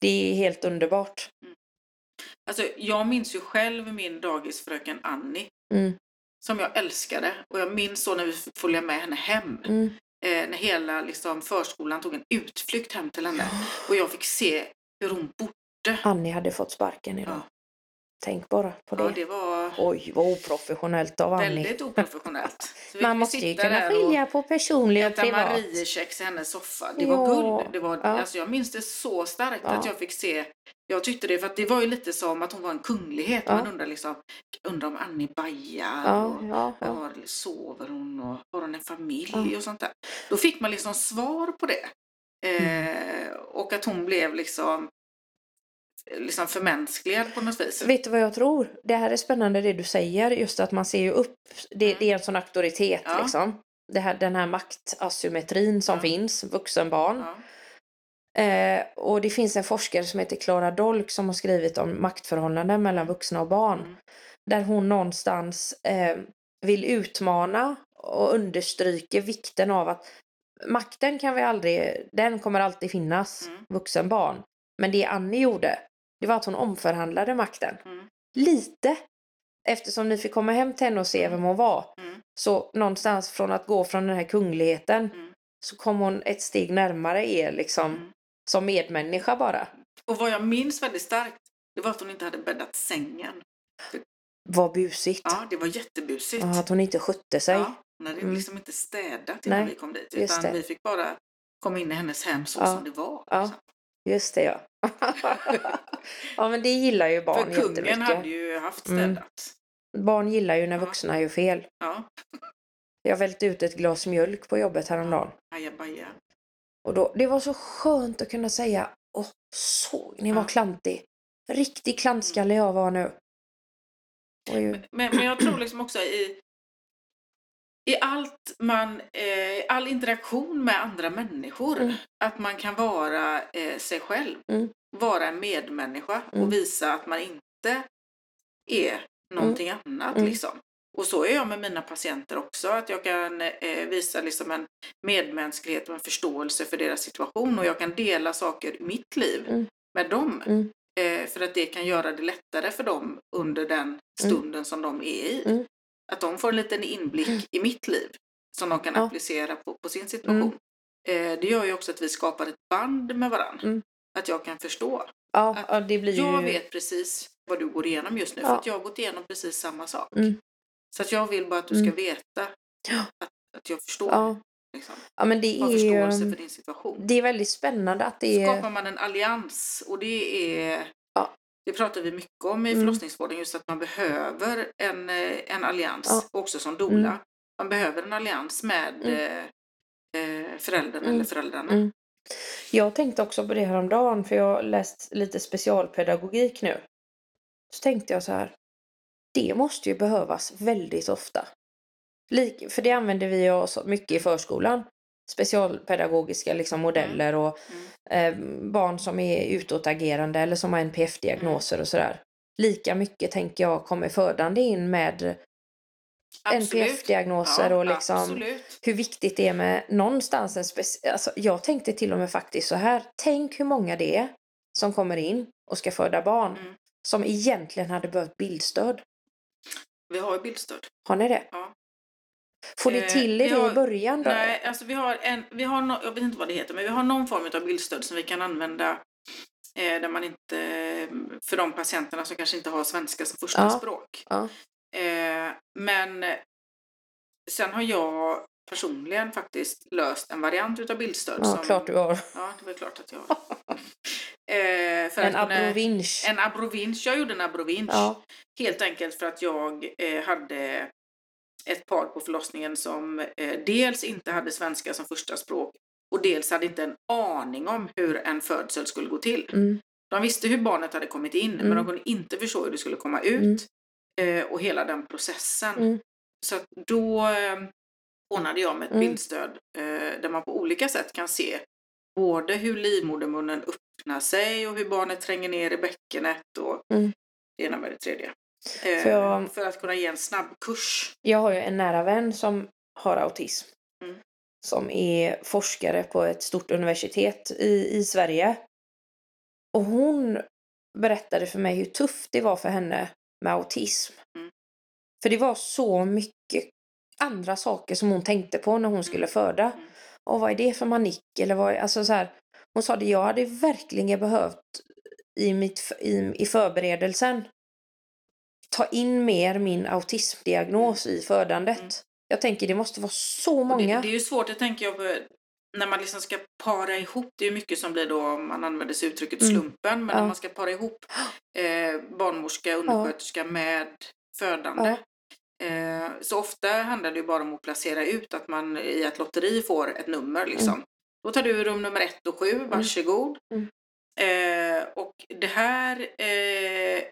Det är helt underbart.
Alltså, jag minns ju själv min dagisfröken Annie.
Mm,
som jag älskade. Och jag minns så när vi följde med henne hem.
mm,
Eh, när hela liksom, förskolan tog en utflykt hem till henne. Och jag fick se hur hon bodde.
Annie hade fått sparken idag.
Ja.
Tänk bara på det.
Ja, det var
Oj, vad oprofessionellt av Annie.
väldigt oprofessionellt. Så vi
Man
fick
måste ju
sitta
kunna
där
skilja på personlig och
Äta
privat.
Mariekex i hennes soffa. Det var
Ja.
guld. Det var,
Ja.
alltså jag minns det så starkt att
Ja.
jag fick se. Jag tyckte det för att det var ju lite som att hon var en kunglighet.
Ja.
Man undrar liksom, undrar om Annie bajar.
Ja,
och-
ja, ja.
Var sover hon och har hon en familj
Ja.
och sånt där. Då fick man liksom svar på det.
Mm.
Eh, och att hon blev liksom, liksom förmänskligad på något vis.
Vet du vad jag tror? Det här är spännande det du säger, just att man ser ju upp. Det,
Mm.
det är en sån auktoritet
Ja. Mm.
liksom. Det här, den här maktasymmetrin som
Ja.
finns, vuxenbarn.
Ja.
Eh, och det finns en forskare som heter Clara Dolk som har skrivit om maktförhållanden mellan vuxna och barn.
Mm.
Där hon någonstans eh, vill utmana och understryker vikten av att makten kan vi aldrig, den kommer alltid finnas,
Mm.
vuxen barn. Men det Annie gjorde, det var att hon omförhandlade makten.
Mm.
Lite. Eftersom ni fick komma hem till henne och se vem hon var.
Mm.
Så någonstans från att gå från den här kungligheten
Mm.
så kom hon ett steg närmare er liksom
Mm.
som medmänniska bara.
Och vad jag minns väldigt starkt, det var att hon inte hade bäddat sängen.
Vad busigt.
Ja, det var jättebusigt.
Ja, att hon inte skötte sig.
Ja, hon hade
Mm.
liksom inte städat innan
Nej,
vi kom dit.
just
Utan
det.
vi fick bara komma in i hennes hem så
Ja.
som det var.
Ja,
liksom.
just det ja. ja men det gillar ju barn
För kungen
jättemycket. Mm.
hade ju haft städat.
Barn gillar ju när
Ja.
vuxna gör fel.
Ja,
Jag välte ut ett glas mjölk på jobbet häromdagen.
ajabaja.
Och då, det var så skönt att kunna säga Åh, såg ni
Ja.
vad klantig? Riktig klantskalle jag var nu. Och ju,
Men, men jag tror liksom också i, i allt man, eh, all interaktion med andra människor,
Mm.
att man kan vara eh, sig själv.
Mm.
Vara en medmänniska
Mm.
och visa att man inte är någonting annat.
Mm.
Liksom. Och så är jag med mina patienter också, att jag kan eh, visa liksom en medmänsklighet och en förståelse för deras situation och jag kan dela saker i mitt liv
Mm.
med dem.
Mm.
Eh, för att det kan göra det lättare för dem under den stunden som de är i.
Mm.
Att de får en liten inblick i mitt liv som de kan
Ja. Mm.
applicera på, på sin situation. Eh, det gör ju också att vi skapar ett band med varandra.
Mm.
Att jag kan förstå.
ja,
att
ja, det blir ju...
Jag vet precis vad du går igenom just nu för
Ja.
att jag har gått igenom precis samma sak.
Mm.
Så att jag vill bara att du
Mm.
ska veta
Ja.
att, att jag förstår.
Ja, Ehm.
Liksom.
ja men det
Har
är
förståelse
ju...
för din situation.
Det är väldigt spännande att det är...
Skapar man en allians och det är
Ja.
Det pratar vi mycket om i
Mm.
förlossningsvården, just att man behöver en, eh, en allians,
Ja. Mm.
också som doula. Man behöver en allians med eh, eh, föräldern
Mm.
eller föräldrarna.
Mm. Jag tänkte också på det här om dagen för jag har läst lite specialpedagogik nu. Så tänkte jag så här. Det måste ju behövas väldigt ofta. Lik- För det använder vi oss av mycket i förskolan. Specialpedagogiska liksom modeller och eh, barn som är utåtagerande eller som har NPF-diagnoser och sådär. Lika mycket tänker jag kommer födande in med NPF-diagnoser och liksom
Absolut.
hur viktigt det är med någonstans en speciell... Alltså, jag tänkte till och med faktiskt så här. Tänk hur många det är som kommer in och ska föda barn
Mm.
som egentligen hade behövt bildstöd.
Vi har ju bildstöd.
Har ni det?
Ja.
Får ni
Eh,
till er
vi
det i
har-
början då?
Nej, alltså vi har en, vi har no, jag vet inte vad det heter, men vi har någon form av bildstöd som vi kan använda eh, där man inte, för de patienterna som kanske inte har svenska som första
Ja.
språk.
Ja.
Eh, men sen har jag personligen faktiskt löst en variant utav bildstöd.
Ja, klart du har.
Ja, det var klart att jag har. eh, för
En
att kunna-
abrovinsch.
En abrovinsch. Jag gjorde en abrovinsch.
Ja.
Helt enkelt för att jag eh, hade ett par på förlossningen som eh, dels inte hade svenska som första språk och dels hade inte en aning om hur en födsel skulle gå till.
Mm.
De visste hur barnet hade kommit in men
Mm.
de kunde inte förstå hur det skulle komma ut eh, och hela den processen.
Mm.
Så att då eh, ordnade jag med ett
Mm.
bildstöd eh, där man på olika sätt kan se både hur livmodermunnen öppnar sig och hur barnet tränger ner i bäckenet och
Mm.
det ena med det tredje. Eh,
För jag-
För att kunna ge en snabb kurs.
Jag har ju en nära vän som har autism.
Mm.
Som är forskare på ett stort universitet i, i Sverige. Och hon berättade för mig hur tufft det var för henne med autism.
Mm.
För det var så mycket andra saker som hon tänkte på när hon skulle föda.
Mm.
Och vad är det för manick? Eller vad är, alltså så här, hon sa det, jag hade verkligen behövt i, mitt, f- i, i förberedelsen ta in mer min autismdiagnos i födandet.
Mm.
Jag tänker det måste vara så
Och
många.
Det, det är ju svårt, det tänker jag, på, när man liksom ska para ihop. Det är ju mycket som blir då, om man använder sig uttrycket
Mm.
slumpen, men
Ja.
när man ska para ihop eh, barnmorska, undersköterska med födande. Eh, så ofta handlar det ju bara om att placera ut, att man i ett lotteri får ett nummer liksom. Då tar du rum nummer ett och sju, varsågod.
Mm.
Eh, och det här eh,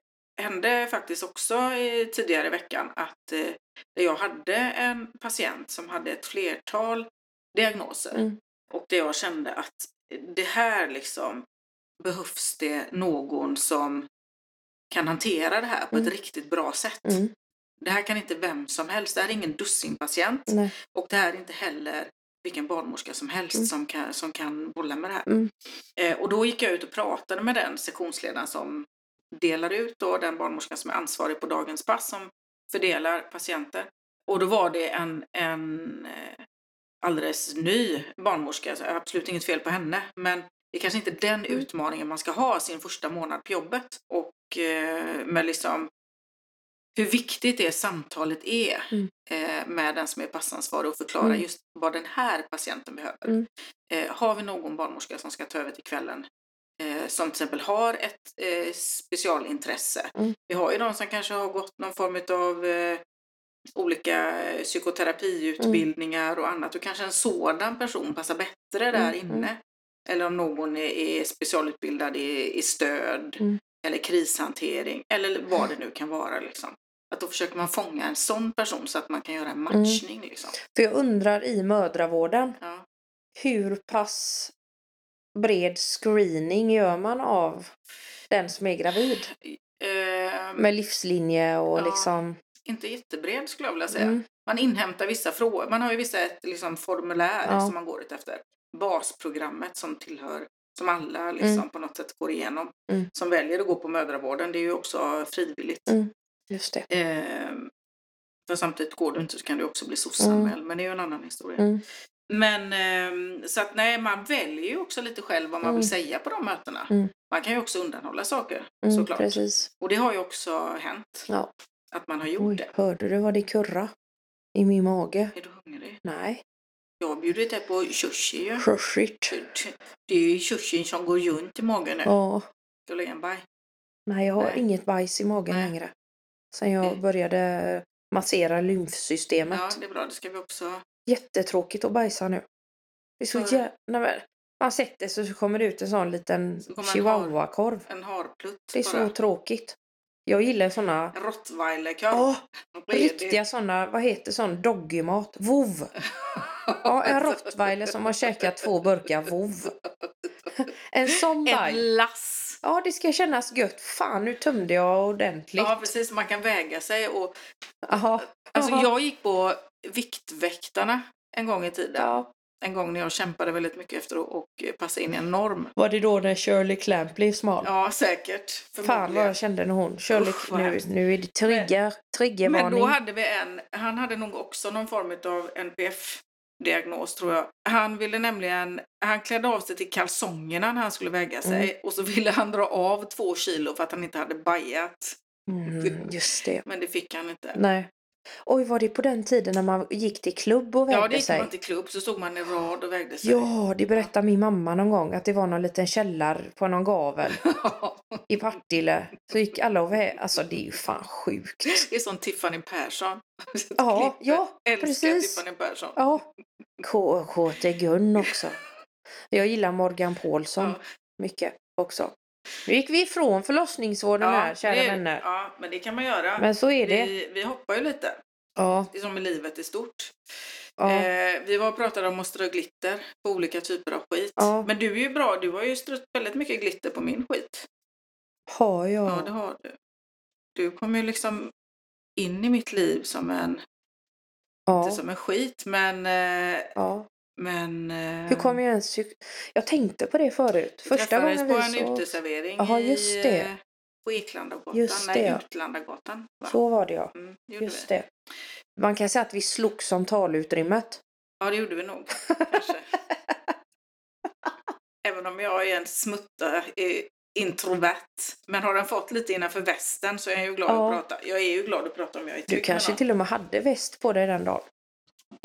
hände faktiskt också eh, tidigare i veckan att eh, där jag hade en patient som hade ett flertal diagnoser
Mm.
och där jag kände att det här liksom behövs det någon som kan hantera det här på
Mm.
ett riktigt bra sätt.
Mm.
Det här kan inte vem som helst, det här är ingen dussinpatient
Nej.
och det här är inte heller vilken barnmorska som helst
Mm.
som, kan, som kan bolla med det här.
Mm.
Eh, och då gick jag ut och pratade med den sektionsledaren som delar ut då, den barnmorskan som är ansvarig på dagens pass som fördelar patienter. Och då var det en, en eh, alldeles ny barnmorska, så absolut inget fel på henne, men det är kanske inte den
Mm.
utmaningen man ska ha sin första månad på jobbet. Och eh, med liksom hur viktigt det samtalet är
Mm.
eh, med den som är passansvarig och förklara
Mm.
just vad den här patienten behöver.
Mm.
Eh, har vi någon barnmorska som ska ta över till kvällen eh, som till exempel har ett eh, specialintresse.
Mm.
Vi har ju de som kanske har gått någon form av eh, olika eh, psykoterapiutbildningar och annat och kanske en sådan person passar bättre där
Mm,
inne. Eller om någon är, är specialutbildad i, i stöd
Mm.
eller krishantering eller vad det nu kan vara. Liksom. Att då försöker man fånga en sån person så att man kan göra en
Mm.
matchning. Liksom.
För jag undrar i mödravården,
Ja.
hur pass bred screening gör man av den som är gravid?
Ehm,
Med livslinje och
Ja.
liksom...
Inte jättebred skulle jag vilja säga.
Mm,
Man inhämtar vissa frågor. Man har ju vissa ett, liksom, formulär
Ja.
som man går ut efter. Basprogrammet som tillhör, som alla liksom,
Mm.
på något sätt går igenom.
Mm.
Som väljer att gå på mödravården. Det är ju också frivilligt.
Mm. just det.
Ehm, för samtidigt går du inte så kan du också bli sossanmäld. Men det är ju en annan historia.
Mm.
Men ehm, så att nej, man väljer ju också lite själv vad man
Mm.
vill säga på de mötena.
Mm.
Man kan ju också undanhålla saker
Mm,
såklart.
precis.
Och det har ju också hänt.
Ja.
Att man har gjort
Oj,
det.
hörde du vad det kurra? I min mage?
Är du hungrig?
Nej.
Jag har bjudit dig på sushi ju.
Crushigt.
Det är ju sushin som går runt i magen nu.
Ja.
Ska du lägga en baj?
Nej, jag har
Nej.
inget bajs i magen
Nej.
längre. Sen jag
Mm.
började massera lymfsystemet.
Ja, det är bra. Det ska vi också...
Jättetråkigt att bajsa nu. Det är så
Ja.
jä... Nej, men, man sätter sig så kommer det ut en sån liten
Så kommer en
chihuahua-korv.
En harplutt
Det är så
bara.
tråkigt. Jag gillar såna...
En rottweilerkorv.
Ja,
Vad är det?
riktiga såna, vad heter sån doggymat? Vov! Ja, en rottweiler som har käkat två burkar vov. En sån baj.
Ett lass.
Ja, det ska kännas gött. Fan, nu tömde jag ordentligt.
Ja, precis. Man kan väga sig. Och,
Aha.
alltså,
Aha.
jag gick på Viktväktarna en gång i tiden.
Ja.
En gång när jag kämpade väldigt mycket efter att och passa in i en norm.
Var det då när Shirley Clamp blev smal?
Ja, säkert.
Fan vad
Förmodligen.
jag kände när hon Shirley,
Usch, vad
nu,
hemskt.
nu är det trigger,
Men
triggervarning.
då hade vi en, han hade nog också någon form av NPF-diagnos tror jag. Han ville nämligen, han klädde av sig till kalsongerna när han skulle väga sig
Mm.
och så ville han dra av två kilo för att han inte hade bajat.
Mm, just det.
Men det fick han inte.
Nej. Oj, var det på den tiden när man gick till klubb och vägde
Ja, det gick
sig?
man till klubb så stod man i rad och vägde sig.
Ja, det berättade min mamma någon gång att det var någon liten källar på någon gavel i Partille. Så gick alla och vägde. Alltså det är ju fan sjukt.
det är som Tiffany Persson.
Ja,
Klippet.
ja,
Älskar
precis.
Tiffany Persson.
Ja. K- KT Gun också. Jag gillar Morgan Paulsson
Ja.
mycket också. Nu gick vi ifrån förlossningsvården här, kära
det, är-
vänner.
Ja, men det kan man göra.
Men så är det.
Vi, vi hoppar ju lite.
Ja,
Det är som med livet i stort.
ja.
Eh, vi var och pratade om att strö glitter på olika typer av skit.
Ja.
Men du är ju bra, du har ju strött väldigt mycket glitter på min skit.
Har jag?
Ja, det har du. Du kom ju liksom in i mitt liv som en,
ja.
inte som en skit, men... eh,
ja.
men eh,
Hur kom jag ens... Jag tänkte på det förut.
vi
Första
träffades
gången
på
vi
en
så...
uteservering
Jaha,
i,
just det.
eh, på Eklandagatan,
Just det,
nej
ja.
Utlandagatan. Va?
Så var det ja.
Mm, det gjorde
Just
vi.
det. Man kan säga att vi slogs om talutrymmet.
Ja, det gjorde vi nog. Kanske. Även om jag är en smutta eh, introvert. Men har den fått lite innanför västen så är jag ju glad
Ja.
att prata. Jag är ju glad att prata om jag är
Du
trygg
kanske
med någon.
till och med hade väst på dig den dagen.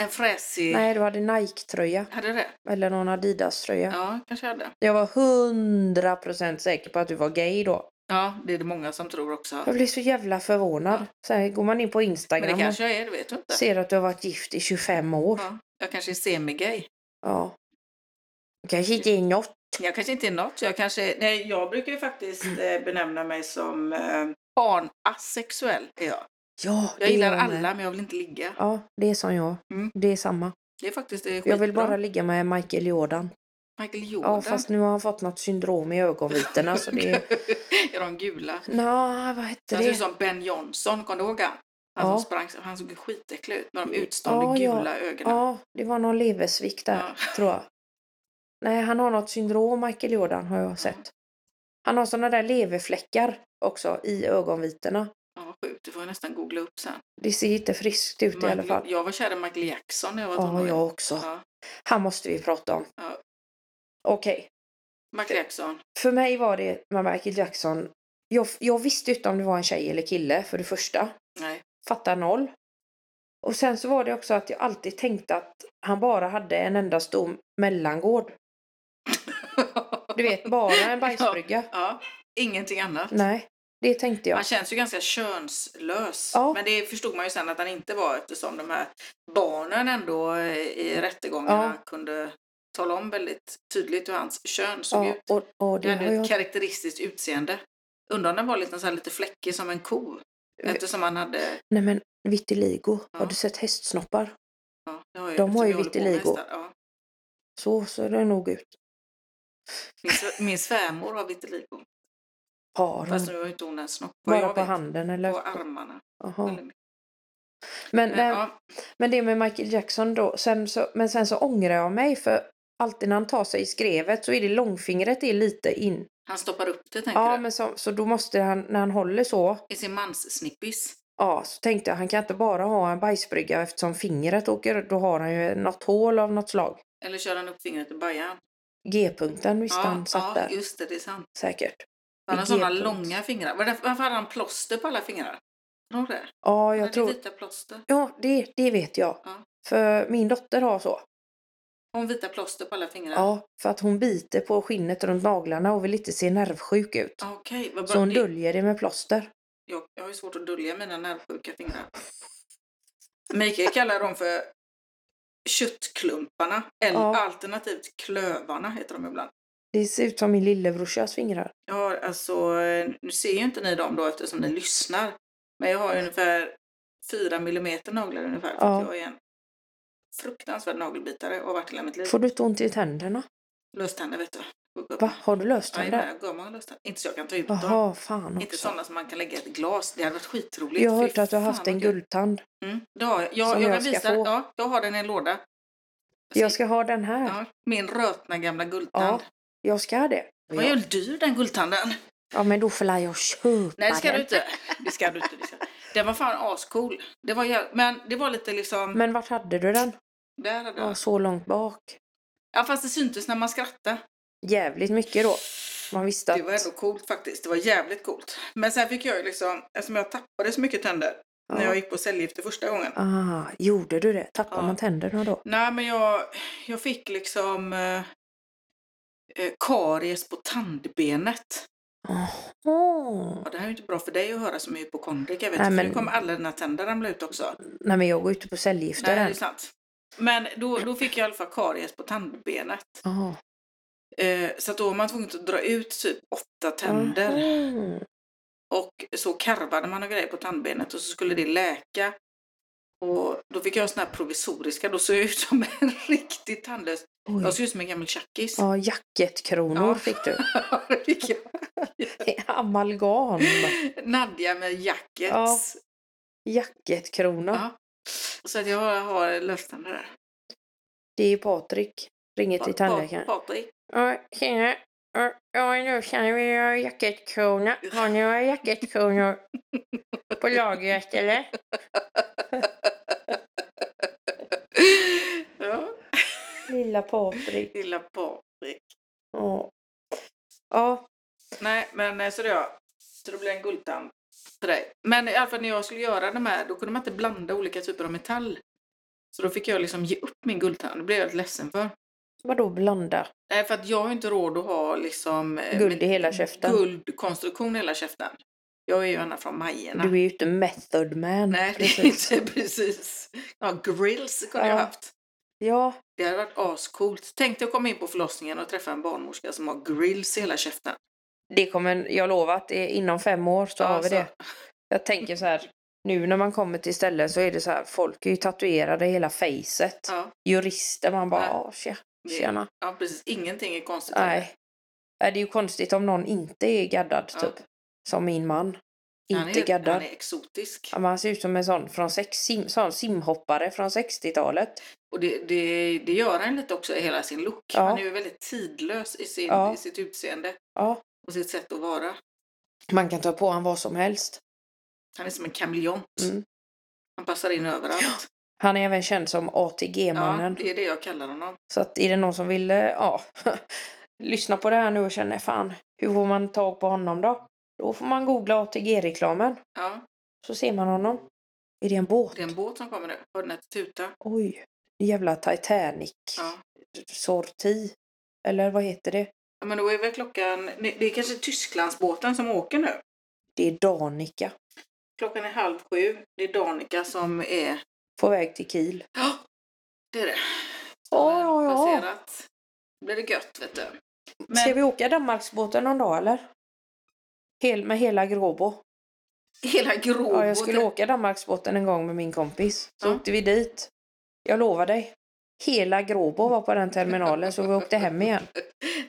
En fräsig...
Nej, du hade Nike-tröja.
Hade det?
Eller någon Adidas-tröja.
Ja, kanske jag hade.
Jag var hundra procent säker på att du var gay då.
Ja, det är det många som tror också.
Jag blev så jävla förvånad. Sen går man in på
Men det
Instagram och
kanske jag är, det vet du inte.
ser att du har varit gift i 25 år.
Ja, jag kanske är semigay.
Ja. Kanske inte är något.
Jag kanske inte är något. Jag, kanske... Nej, jag brukar ju faktiskt eh, benämna mig som eh, barnasexuell. Är jag.
Ja,
jag
det
gillar
med.
alla, men jag vill inte ligga.
Ja, det är som jag.
Mm.
Det är samma.
Det är faktiskt det är
Jag vill
skitbra.
bara ligga med Michael Jordan.
Michael Jordan.
Ja, fast nu har han fått något syndrom i ögonvitorna så det är...
är de gula.
Nå, vad hette
Han ser ut
det?
som Ben Johnson, kommer du ihåg han? Han
Ja.
som sprang, han såg skitäcklig ut med de utstående
Ja, ja.
gula ögonen.
Ja, det var någon leversvikt där,
Ja.
tror jag. Nej, han har något syndrom, Michael Jordan, har jag sett. Han har såna där leverfläckar också i ögonvitorna.
Ja, vad sjukt, det får jag nästan googla upp sen.
Det ser inte friskt ut i alla
Michael-
fall.
Jag var kär i Michael Jackson när jag var
Ja, jag också.
Ja.
Han måste vi prata om.
Ja.
Okej,
Michael Jackson.
för mig var det med Michael Jackson. Jag, jag visste inte om det var en tjej eller kille för det första.
Nej.
Fattar noll. Och sen så var det också att jag alltid tänkte att han bara hade en enda stor mellangård. Du vet, bara en bajsbrygga.
ja, ingenting annat.
Nej, det tänkte jag.
Han känns ju ganska könslös.
Ja.
Men det förstod man ju sen att han inte var eftersom de här barnen ändå eh, i rättegångarna kunde tala om väldigt tydligt hur hans kön såg
Ja,
ut.
och, och det
Det
har
hade
jag...
ett karaktäristiskt utseende. Undrar om den var lite, så här, lite fläckig som en ko.
Eh.
Eftersom han hade...
Nej men vitiligo, har
Ja.
du sett hästsnoppar?
Ja, det har jag,
De har
som
ju
jag håller på med
vitiligo.
hästar, Ja.
Så ser det nog ut.
Min, sv- min svärmor har vitiligo.
Har hon
Fast nu har ju inte hon en snopp. vad
bara
jag
på
vet.
handen eller?
På armarna.
Jaha.
Eller-
Men,
Men,
men,
ja,
men det med Michael Jackson då, sen så, men sen så ångrar jag mig för alltid när han tar sig i skrevet så är det långfingret är lite in.
han stoppar upp det tänker
Ja
du?
men så, så då måste han, när han håller så,
I sin manssnippis.
ja så tänkte jag han kan inte bara ha en bajsbrygga eftersom fingret åker, då har han ju något hål av något slag.
Eller kör han upp fingret i bajan?
G-punkten visst han satt
ja
där
just det, det är sant.
säkert.
Han har
Vilket
sådana
punkt.
långa fingrar. Var det- Varför hade han plåster på alla fingrar? Tror du det?
Ja
Han
jag
hade
tror,
vita plåster.
ja det, det vet jag.
Ja.
För min dotter har så.
Hon vita plåster på alla fingrar.
Ja, för att hon biter på skinnet runt naglarna och vill inte se nervsjuk ut.
Ah, Okej, vad bra.
Så hon
Det-
döljer det med plåster.
jag, jag har ju svårt att dölja mina nervsjuka fingrar. Mikael kallar dem för köttklumparna. Eller
Ja.
alternativt klövarna heter de ibland.
Det ser ut som min lillebrorsas fingrar.
Jag har alltså, eh, nu ser ju inte ni dem då eftersom ni lyssnar. Men jag har ungefär 4 millimeter naglar ungefär. För att
Ja.
jag är en fruktansvärd nagelbitare och har varit hela mitt liv.
Får du inte ont i tänderna?
Löständer vet du. Sjuk upp.
Va? Har du löst dem
Jajamän,
där?
jag gav många löständer. Inte så jag kan ta ut dem.
Jaha, fan
Inte
också.
sådana som man kan lägga i ett glas. Det hade varit skitroligt.
Jag har
Fy
hört att du har
fan
haft
vad
en
kul.
guldtand.
Mm, det har jag. Jag,
Som
jag,
jag
kan
ska
visa.
få.
Ja, jag har den i en låda.
Jag ska ha den här.
ja, min rötna gamla guldtand.
Ja, Jag ska ha det.
Det var ju dyr den guldtanden.
Ja, men då får la jag köpa
Nej, det ska
den.
du inte. Det ska du inte. Det ska. Den var fan ascool. Det var, jä- men det var lite liksom...
Men vart hade du den?
där hade
Ja,
jag.
så långt bak.
Ja, fast det syntes när man skrattade.
Jävligt mycket då. Man visste
Det var
att...
ändå coolt faktiskt. Det var jävligt coolt. Men sen fick jag ju liksom... Eftersom jag tappade så mycket tänder när jag
Ja.
gick på cellgifter första gången.
Ah, gjorde du det? Tappade
Ja.
man tänderna då?
Nej, men jag, jag fick liksom... Eh, eh, karies på tandbenet.
Åh.
Ja, det här är ju inte bra för dig att höra som är hypokondriker. Vet
Nej,
du? För
men-
nu kommer alla dina tänder ramla ut också.
Nej men jag går ute på
Nej,
cellgifter
det är
än.
sant. Men då, då fick jag i alla fall karies på tandbenet.
Jaha.
Eh, så att då var man tvungen att dra ut typ åtta tänder.
Mhm.
Och så karvade man och grejer på tandbenet och så skulle det läka. Och då fick jag såna här provisoriska. Då såg jag ut som en riktig tandlös.
Oj.
Jag såg ut som en gammal tjackis.
Ja, jacketkronor
Ja.
fick du.
det fick jag.
Amalgam.
Nadja med
Ja.
jackets.
Jacketkrona.
Ja. Så att jag har, har löständer där.
Det är Patrik. Ringer
Pa-
till
pa-
tandläkaren.
Patrik.
Ja, Tjena. Ja, Ja, nu känner vi göra jacketkrona. Har ni några jacketkronor på lagret eller?
ja.
Lilla Patrik.
Lilla Patrik.
Ja. Ja,
Nej, men eh, så det gör jag. Så det blir en guldtand till dig. Men i alla fall när jag skulle göra de här, då kunde man inte blanda olika typer av metall. Så då fick jag liksom ge upp min guldtand. Det blev jag lite ledsen för.
vadå blanda?
Nej, för att jag har ju inte råd att ha liksom... eh,
Guld i
met-
hela käften.
Guldkonstruktion i hela käften. Jag är ju ena från Majerna.
Du är ju inte method man.
Nej, det är
precis.
inte precis. Ja, grills kunde jag
Ja.
haft.
Ja,
Det hade varit ascoolt. Tänk dig att komma in på förlossningen och träffa en barnmorska som har grills i hela käften.
Det kommer, jag lovar att det är inom fem år så
Ja,
har vi
så-
det. Jag tänker så här, nu när man kommer till ställen så är det så här, folk är ju tatuerade i hela facet.
Ja.
Jurister, man bara,
Ja.
ja tja. Tjena.
Ja, precis. Ingenting är konstigt.
Nej. Nej, Det är ju konstigt om någon inte är gaddad typ. Som min man.
Han
Inte
är, han
gaddad.
är exotisk.
Ja, men Han ser ut som en sån, från sex, sim, sån simhoppare från 60-talet.
Och det, det, det gör han lite också i hela sin look.
Ja.
Han är ju väldigt tidlös i, sin,
Ja.
i sitt utseende
Ja.
och sitt sätt att vara.
Man kan ta på honom vad som helst.
Han är som en kameleont.
Mm.
Han passar in överallt.
Han är även känd som
Ja,
ATG-mannen.
det är det jag kallar honom.
Så att är det någon som vill eh, ja, lyssna på det här nu och känner fan, hur får man tag på honom då? Då får man googla ATG-reklamen.
Ja,
Så ser man honom. Är det en båt?
det är en båt som kommer nu. Hör den att tuta?
Oj. Jävla
Ja.
Titanic-sorti. Eller vad heter det?
ja, men då är väl klockan... nej, Det är kanske Tysklandsbåten som åker nu.
Det är Danica.
Klockan är halv sju. Det är Danica som är...
På väg till Kiel.
Ja, det är det.
Ja, ja, ja.
Passerat. Då blir det gött, vet du. Men-
Ska vi åka Danmarksbåten någon dag eller? Hel, med hela Gråbo.
Hela Gråbo.
Ja, jag skulle åka Danmarksbåten en gång med min kompis. Så
Oh, Ja.
åkte vi dit. Jag lovar dig. Hela Gråbo var på den terminalen så vi åkte hem igen.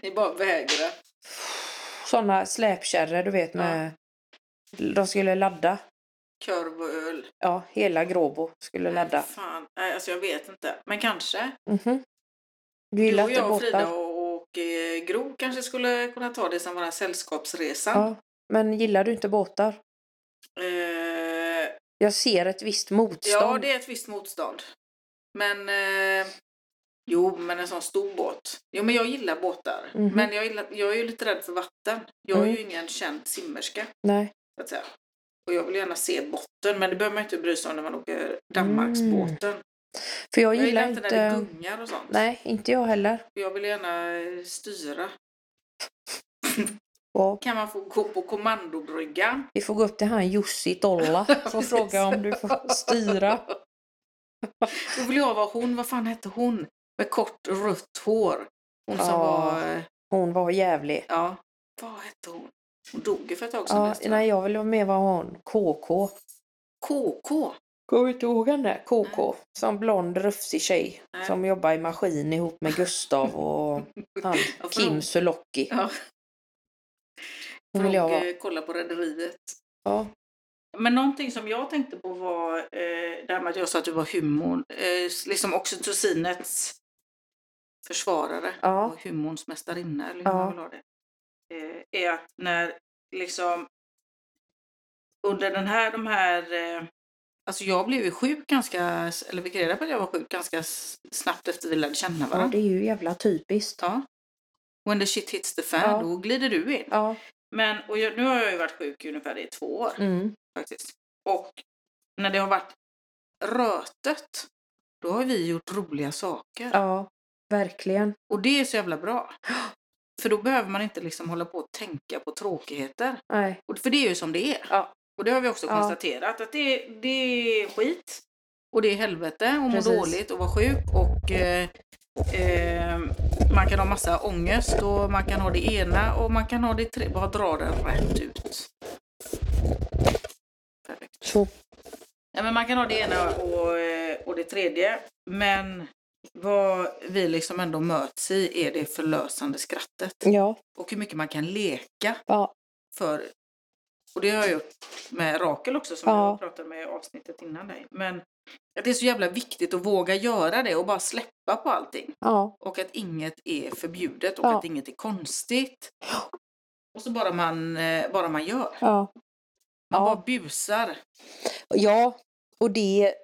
Ni bara vägrar.
Sådana släpkärror du vet med... De skulle ladda.
Korv och öl.
Ja, hela Gråbo skulle ladda.
Fan, nej, alltså jag vet inte. Men kanske.
Mhm. Du
Du
gillar
och
inte
jag och Frida
båtar?
och, och eh, Gro kanske skulle kunna ta det som våran sällskapsresa.
Ja. Men gillar du inte båtar?
Eh,
Jag ser ett visst motstånd.
ja, det är ett visst motstånd. Men... Eh, jo, men en sån stor båt. Jo, men jag gillar båtar.
Mhm.
Men jag, gillar, jag är ju lite rädd för vatten. Jag är
Mm.
ju ingen känd simmerska,
Nej.
så att säga. Och jag vill gärna se botten, men det behöver man inte bry sig om när man åker Danmarksbåten.
För Mm. jag
Jag
gillar,
gillar inte
inte...
när det gungar och sånt.
Nej, inte jag heller.
Jag vill gärna eh, styra.
Ja.
Kan man få gå på kommandobryggan?
Vi får gå upp till han Jussi Tolla och fråga om du får styra.
Då vill jag vara hon. Vad fan hette hon? Med kort rött hår. Hon som
Ja.
var... eh,
Hon var jävlig.
Ja. Vad hette hon? Hon dog ju för ett tag sedan.
Ja,
nästan.
nej, jag vill vara med vad hon. KK.
KK.
Kommer du inte ihåg henne? KK. Som blond rufsig tjej.
Nej.
Som jobbar i maskin ihop med Gustav och han,
Ja, för
Kim
hon-
Sulocki.
Ja.
Hon vill jag
Fråg,
vara.
eh, kolla på Rederiet.
Ja.
Men någonting som jag tänkte på var eh, det här med att jag sa att du var humorn. Eh, liksom oxytocinets försvarare.
Ja.
och humorns mästarinna eller hur
Ja.
man vill ha det. Eh, är att när liksom under den här, de här, eh, alltså jag blev ju sjuk ganska, eller vi fick reda på att jag var sjuk ganska s- snabbt efter vi lärde känna
ja,
varandra.
det är ju jävla typiskt.
Ja. When the shit hits the fan,
Ja.
då glider du in.
Ja.
Men, och jag, nu har jag ju varit sjuk i ungefär i två år
Mm.
faktiskt. Och när det har varit rötet, då har vi gjort roliga saker.
ja, verkligen.
Och det är så jävla bra. För då behöver man inte liksom hålla på och tänka på tråkigheter.
Nej.
Och- För det är ju som det är.
Ja.
Och det har vi också
Ja.
konstaterat att det, det är skit. Och det är helvete och må
Precis.
dåligt och vara sjuk och eh, eh, man kan ha massa ångest och man kan ha det ena och man kan ha det tre. Bara dra den rätt ut. Perfekt.
Så.
Nej, men man kan ha det ena och, eh, och det tredje. Men vad vi liksom ändå möts i är det förlösande skrattet.
Ja.
Och hur mycket man kan leka
ja.
för... Och det har jag gjort med Rakel också som
Ja.
jag pratade med i avsnittet innan dig. Men att det är så jävla viktigt att våga göra det och bara släppa på allting.
Ja.
Och att inget är förbjudet och
Ja.
att inget är konstigt. Och så bara man, eh, bara man gör.
ja.
Man
Ja.
bara busar.
Ja, och det,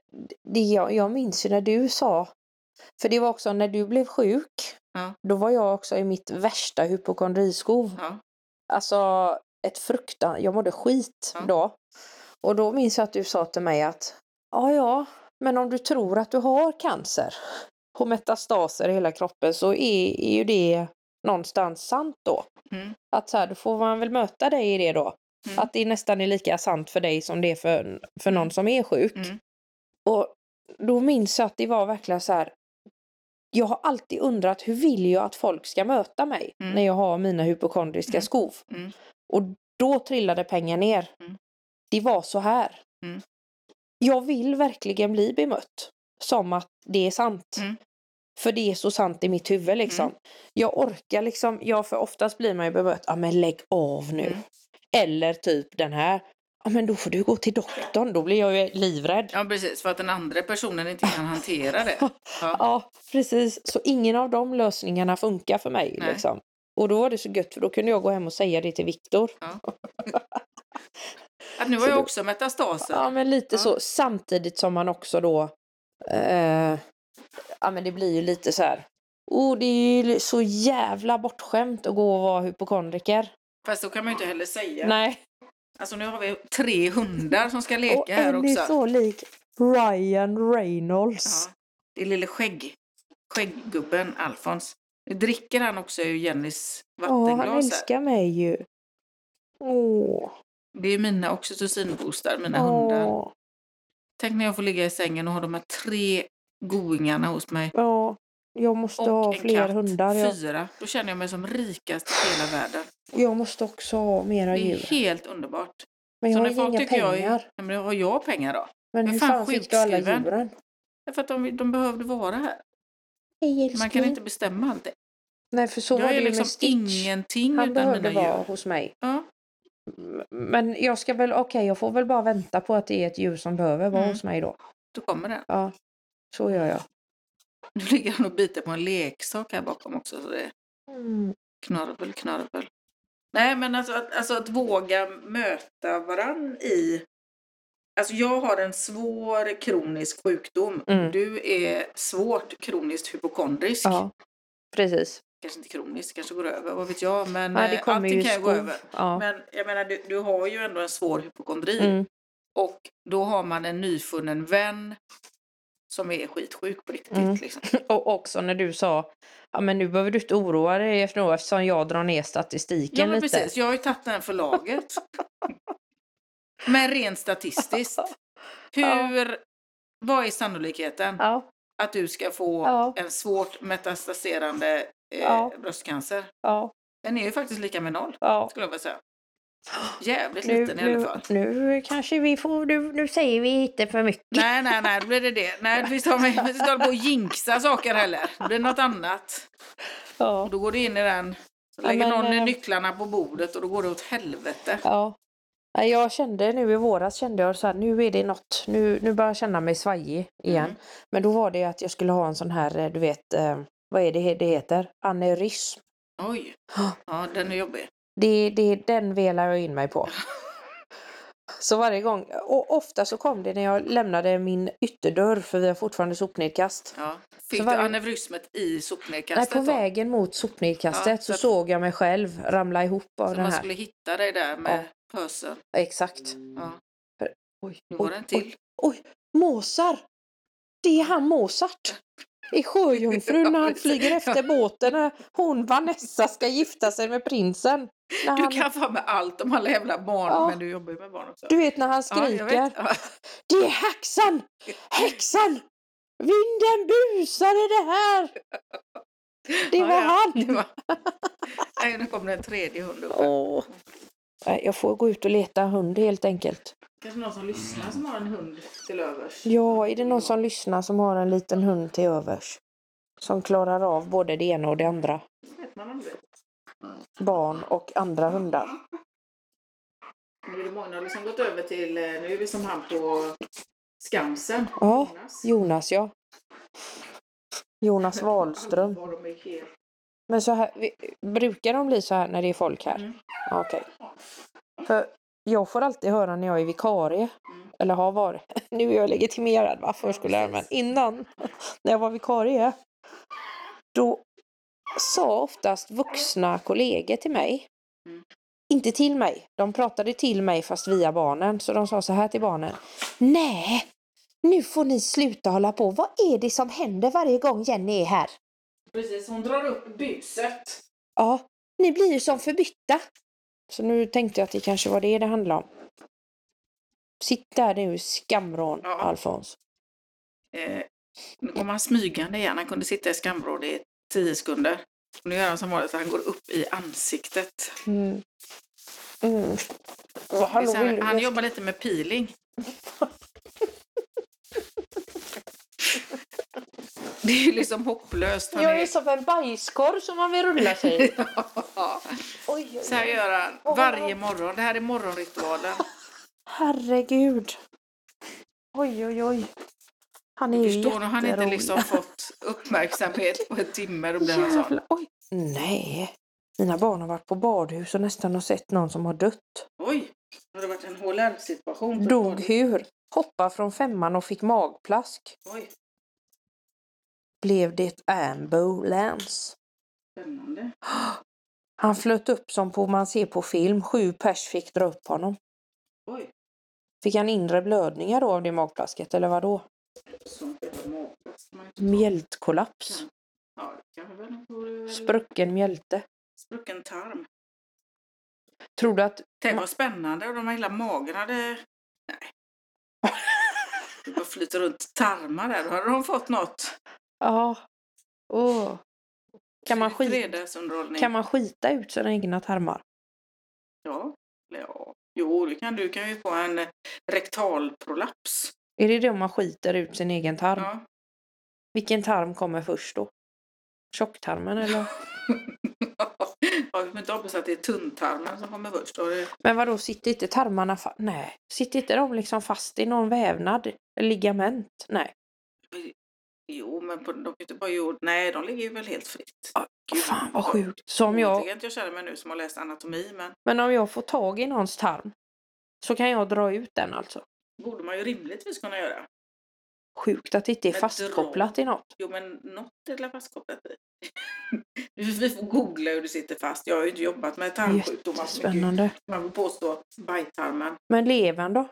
det jag, jag minns ju när du sa, för det var också när du blev sjuk,
Ja.
då var jag också i mitt värsta hypokondriskov.
Ja.
Alltså ett fruktan, jag mådde skit
Ja.
då. Och då minns jag att du sa till mig att, ja ja, men om du tror att du har cancer och metastaser i hela kroppen så är, är ju det någonstans sant då.
Mm.
Att så här, då får man väl möta dig i det då.
Mm.
Att det är nästan är lika sant för dig som det är för, för någon som är sjuk.
Mm.
Och då minns jag att det var verkligen så här. Jag har alltid undrat hur vill jag att folk ska möta mig
Mm.
när jag har mina hypokondriska
Mm.
skov.
Mm.
Och då trillade pengar ner.
Mm.
Det var så här.
Mm.
Jag vill verkligen bli bemött som att det är sant.
Mm.
För det är så sant i mitt huvud liksom. Jag orkar liksom, jag för oftast blir man ju bemött, ja men lägg av nu.
Mm.
Eller typ den här, ja men då får du gå till doktorn, då blir jag ju livrädd.
Ja, precis. För att den andra personen inte kan hantera det. Ja.
Ja, precis. Så ingen av de lösningarna funkar för mig.
Nej.
Liksom. Och då var det så gött för då kunde jag gå hem och säga det till Viktor.
Att nu har
Så
jag
du-
också metastaser.
Ja, men lite
Ja.
så. Samtidigt som man också då... Eh, ja, men det blir ju lite så här... Oh, det är ju så jävla bortskämt att gå och vara hypokondriker.
Fast då kan man ju inte heller säga.
Nej.
Alltså nu har vi tre hundar som ska leka
och
här
en är
också.
så lik Ryan Reynolds.
Ja. Det är lille skägg. skägggubben Alfons. Nu dricker han också ur Jennys
Ja,
vattenglas.
han
här.
älskar mig ju. Åh.
Det är mina oxytocinboostar, mina hundar.
Åh.
Tänk när jag får ligga i sängen och ha de här tre goingarna hos mig.
Ja. Jag måste ha
Och en
fler
katt.
hundar. Jag,
Fyra. Då känner jag mig som rikast i hela världen.
jag måste också ha mera
Det är
djur.
helt underbart.
Men jag
Så
har
när
ju
folk
inga
tycker
pengar.
jag är- Nej, Men har jag pengar då?
Men
Men
hur
fan,
fan fick du alla
sjukskriven.
djuren?
Därför att de, de behövde vara här.
Hej
Man
älskling.
kan inte bestämma allting.
Nej, för så var
Jag
det
är
ju
liksom
med Stitch.
ingenting
Han
utan
behövde
mina
vara
djur.
hos mig.
Ja,
M- Men jag ska väl, okej, jag får väl bara vänta på att det är ett djur som behöver vara
Mm.
hos mig då.
då kommer den.
Ja, så gör jag.
Nu ligger han och biter på en leksak här bakom också. Så det är
Mm.
knarvel, knarvel. Nej, men alltså att, alltså att våga möta varann i... Alltså jag har en svår kronisk sjukdom.
Mm.
Du är svårt kroniskt hypokondrisk.
Ja, precis.
Kanske inte kroniskt, kanske går över, vad vet jag. Men
Nej, det
eh,
kommer
allting
ju
kan ju gå
skov.
över.
Ja.
Men jag menar, du, du har ju ändå en svår hypokondri.
Mm.
Och då har man en nyfunnen vän som är skitsjuk på riktigt.
Mm.
Liksom.
Och också när du sa, ja men nu behöver du inte oroa dig efter något eftersom jag drar ner statistiken
Ja, men
lite.
precis. Jag har ju tagit den för laget. men rent statistiskt. Hur, Vad är sannolikheten
Ja,
att du ska få
Ja.
en svårt metastaserande eh,
Ja.
bröstcancer?
ja,
Den är ju faktiskt lika med noll,
ja.
skulle jag vilja säga. Jävligt
Nu,
liten i alla
nu,
fall.
nu kanske vi får, nu, nu säger vi inte för mycket.
Nej, nej, nej, då blir det det. Nej, vi ska vi ska inte hålla på och jinxa saker heller. Det blir något annat.
Ja,
Och då går det in i den. Så
Ja,
lägger
men,
någon
eh,
nycklarna på bordet och då går det åt helvete.
Ja. Nej, Jag kände nu i våras kände jag så här, nu är det något, nu, nu börjar jag känna mig svajig igen.
Mm.
Men då var det att jag skulle ha en sån här, eh, du vet, eh, vad är det he- det heter? Aneurysm.
Mm. Oj. Ja, den är jobbig.
Det, det, den velar jag in mig på. Så varje gång, och ofta så kom det när jag lämnade min ytterdörr för vi har fortfarande sopnedkast.
Ja. Fick
Så var
du
det-
aneurismet i
Nej,
sopnedkastet
på
då?
vägen mot sopnedkastet
Ja,
så
så-
såg jag mig själv ramla ihop av
Så
den
man
här.
skulle hitta dig där med pösen.
Exakt.
Ja.
Oj,
Nu
oj,
var det en
oj.
till.
Måsar! Det är han Mozart! I Sjöjungfrun när han flyger efter båten när hon Vanessa ska gifta sig med prinsen. När
Du
han,
kan fan med allt om alla jävla barn,
Ja.
men du jobbar ju med barn också.
du vet när han
Ja,
skriker.
jag vet. Ja.
det är häxan! Häxan! Vinden busar i det här! Det var
Ja, ja.
han!
Det var... Nej, nu kom det en tredje hund upp. här.
Åh. Nej, Jag får gå ut och leta hund helt enkelt.
Kanske någon som lyssnar som har en hund till övers.
Ja, är det någon som lyssnar som har en liten hund till övers? Som klarar av både det ena och det andra.
vet man aldrig.
Barn och andra hundar.
Nu är det många som har liksom gått över till, eh, nu är vi som han på Skansen.
Ja.
Jonas.
Jonas, ja. Jonas Wahlström.
Alla var de är helt-
Men så här, vi, brukar de bli så här när det är folk här?
Mm.
Ja, Okej. För jag får alltid höra när jag är vikarie,
Mm.
eller har varit. Nu är jag legitimerad, va? Förskollärare,
Ja,
men
precis.
innan, när jag var vikarie, då sa oftast vuxna kollegor till mig,
Mm.
inte till mig, de pratade till mig fast via barnen, så de sa så här till barnen. Nej, nu får ni sluta hålla på. Vad är det som händer varje gång Jenny är här?
Precis, hon drar upp buset.
Ja, ni blir ju som förbytta. Så nu tänkte jag att det kanske var det det handlade om. Sitt där nu, skamrån,
Ja.
Alfons.
Eh, nu kommer han smygande igen. Han kunde sitta i skamvrån i tio sekunder. Och nu gör han som vanligt, han går upp i ansiktet.
Mm. Mm. Oh,
Det är
hallå,
så här,
vill,
han
jag,
jobbar lite med peeling. Det är ju liksom hopplöst. Han
Jag är
är...
som en bajskorv som man vill rulla sig i. Oj, oj,
Så här
oj.
gör han varje morgon. Det här är morgonritualen.
Herregud. Oj, oj, oj. Han är ju
Förstår ni? Han har inte
jätterolig.
liksom alltså. fått uppmärksamhet på en timme. Då blir han sån.
Jävlar, oj. Nej. Mina barn har varit på badhus och nästan har sett någon som har dött.
Oj, har det varit en HLR-situation?
Dog hur? Hoppa från femman och fick magplask.
Oj,
Blev det ambulance.
spännande.
Han flöt upp som på man ser på film. Sju pers fick dra upp honom.
Oj,
Fick han inre blödningar då av det magplasket eller vad då?
som heter magplats.
Mjältkollaps.
Ja, det kanske väl vore...
Sprucken mjälte.
Sprucken tarm.
Tror du att...
Tänk vad spännande. Och de här hela magen hade... Nej. Det bara flyter runt tarmar där. Då hade de fått något.
Ja. Åh. Kan man, skit,
Fredagsunderhållning.
kan man skita ut sina egna tarmar?
Ja. eller ja. Jo, det kan du. Du kan ju få en eh, rektalprolaps.
Är det det om man skiter ut sin egen tarm?
Ja.
Vilken tarm kommer först då? Tjocktarmen eller?
ja, vi behöver inte hoppas att det är tunntarmen som kommer först. Då är det-
Men vadå, sitter inte tarmarna fa- Nej. Sitter inte de liksom fast i någon vävnad? Ligament? Nej.
Jo, men på, de kan ju inte bara jord. Nej, de ligger ju väl helt fritt. Gud.
Fan vad sjukt. Så om jag,
Ointelligent jag känner mig nu som har läst anatomi, men
men om jag får tag i någons tarm så kan jag dra ut den alltså.
borde man ju rimligtvis kunna göra.
Sjukt att det inte är
Men
fastkopplat i något.
Jo, men något är det fastkopplat i. Vi får googla hur det sitter fast. Jag har ju inte jobbat med tarmsjukdomar så mycket.
Jättespännande.
Man vill påstå bajtarmen.
Men levern då?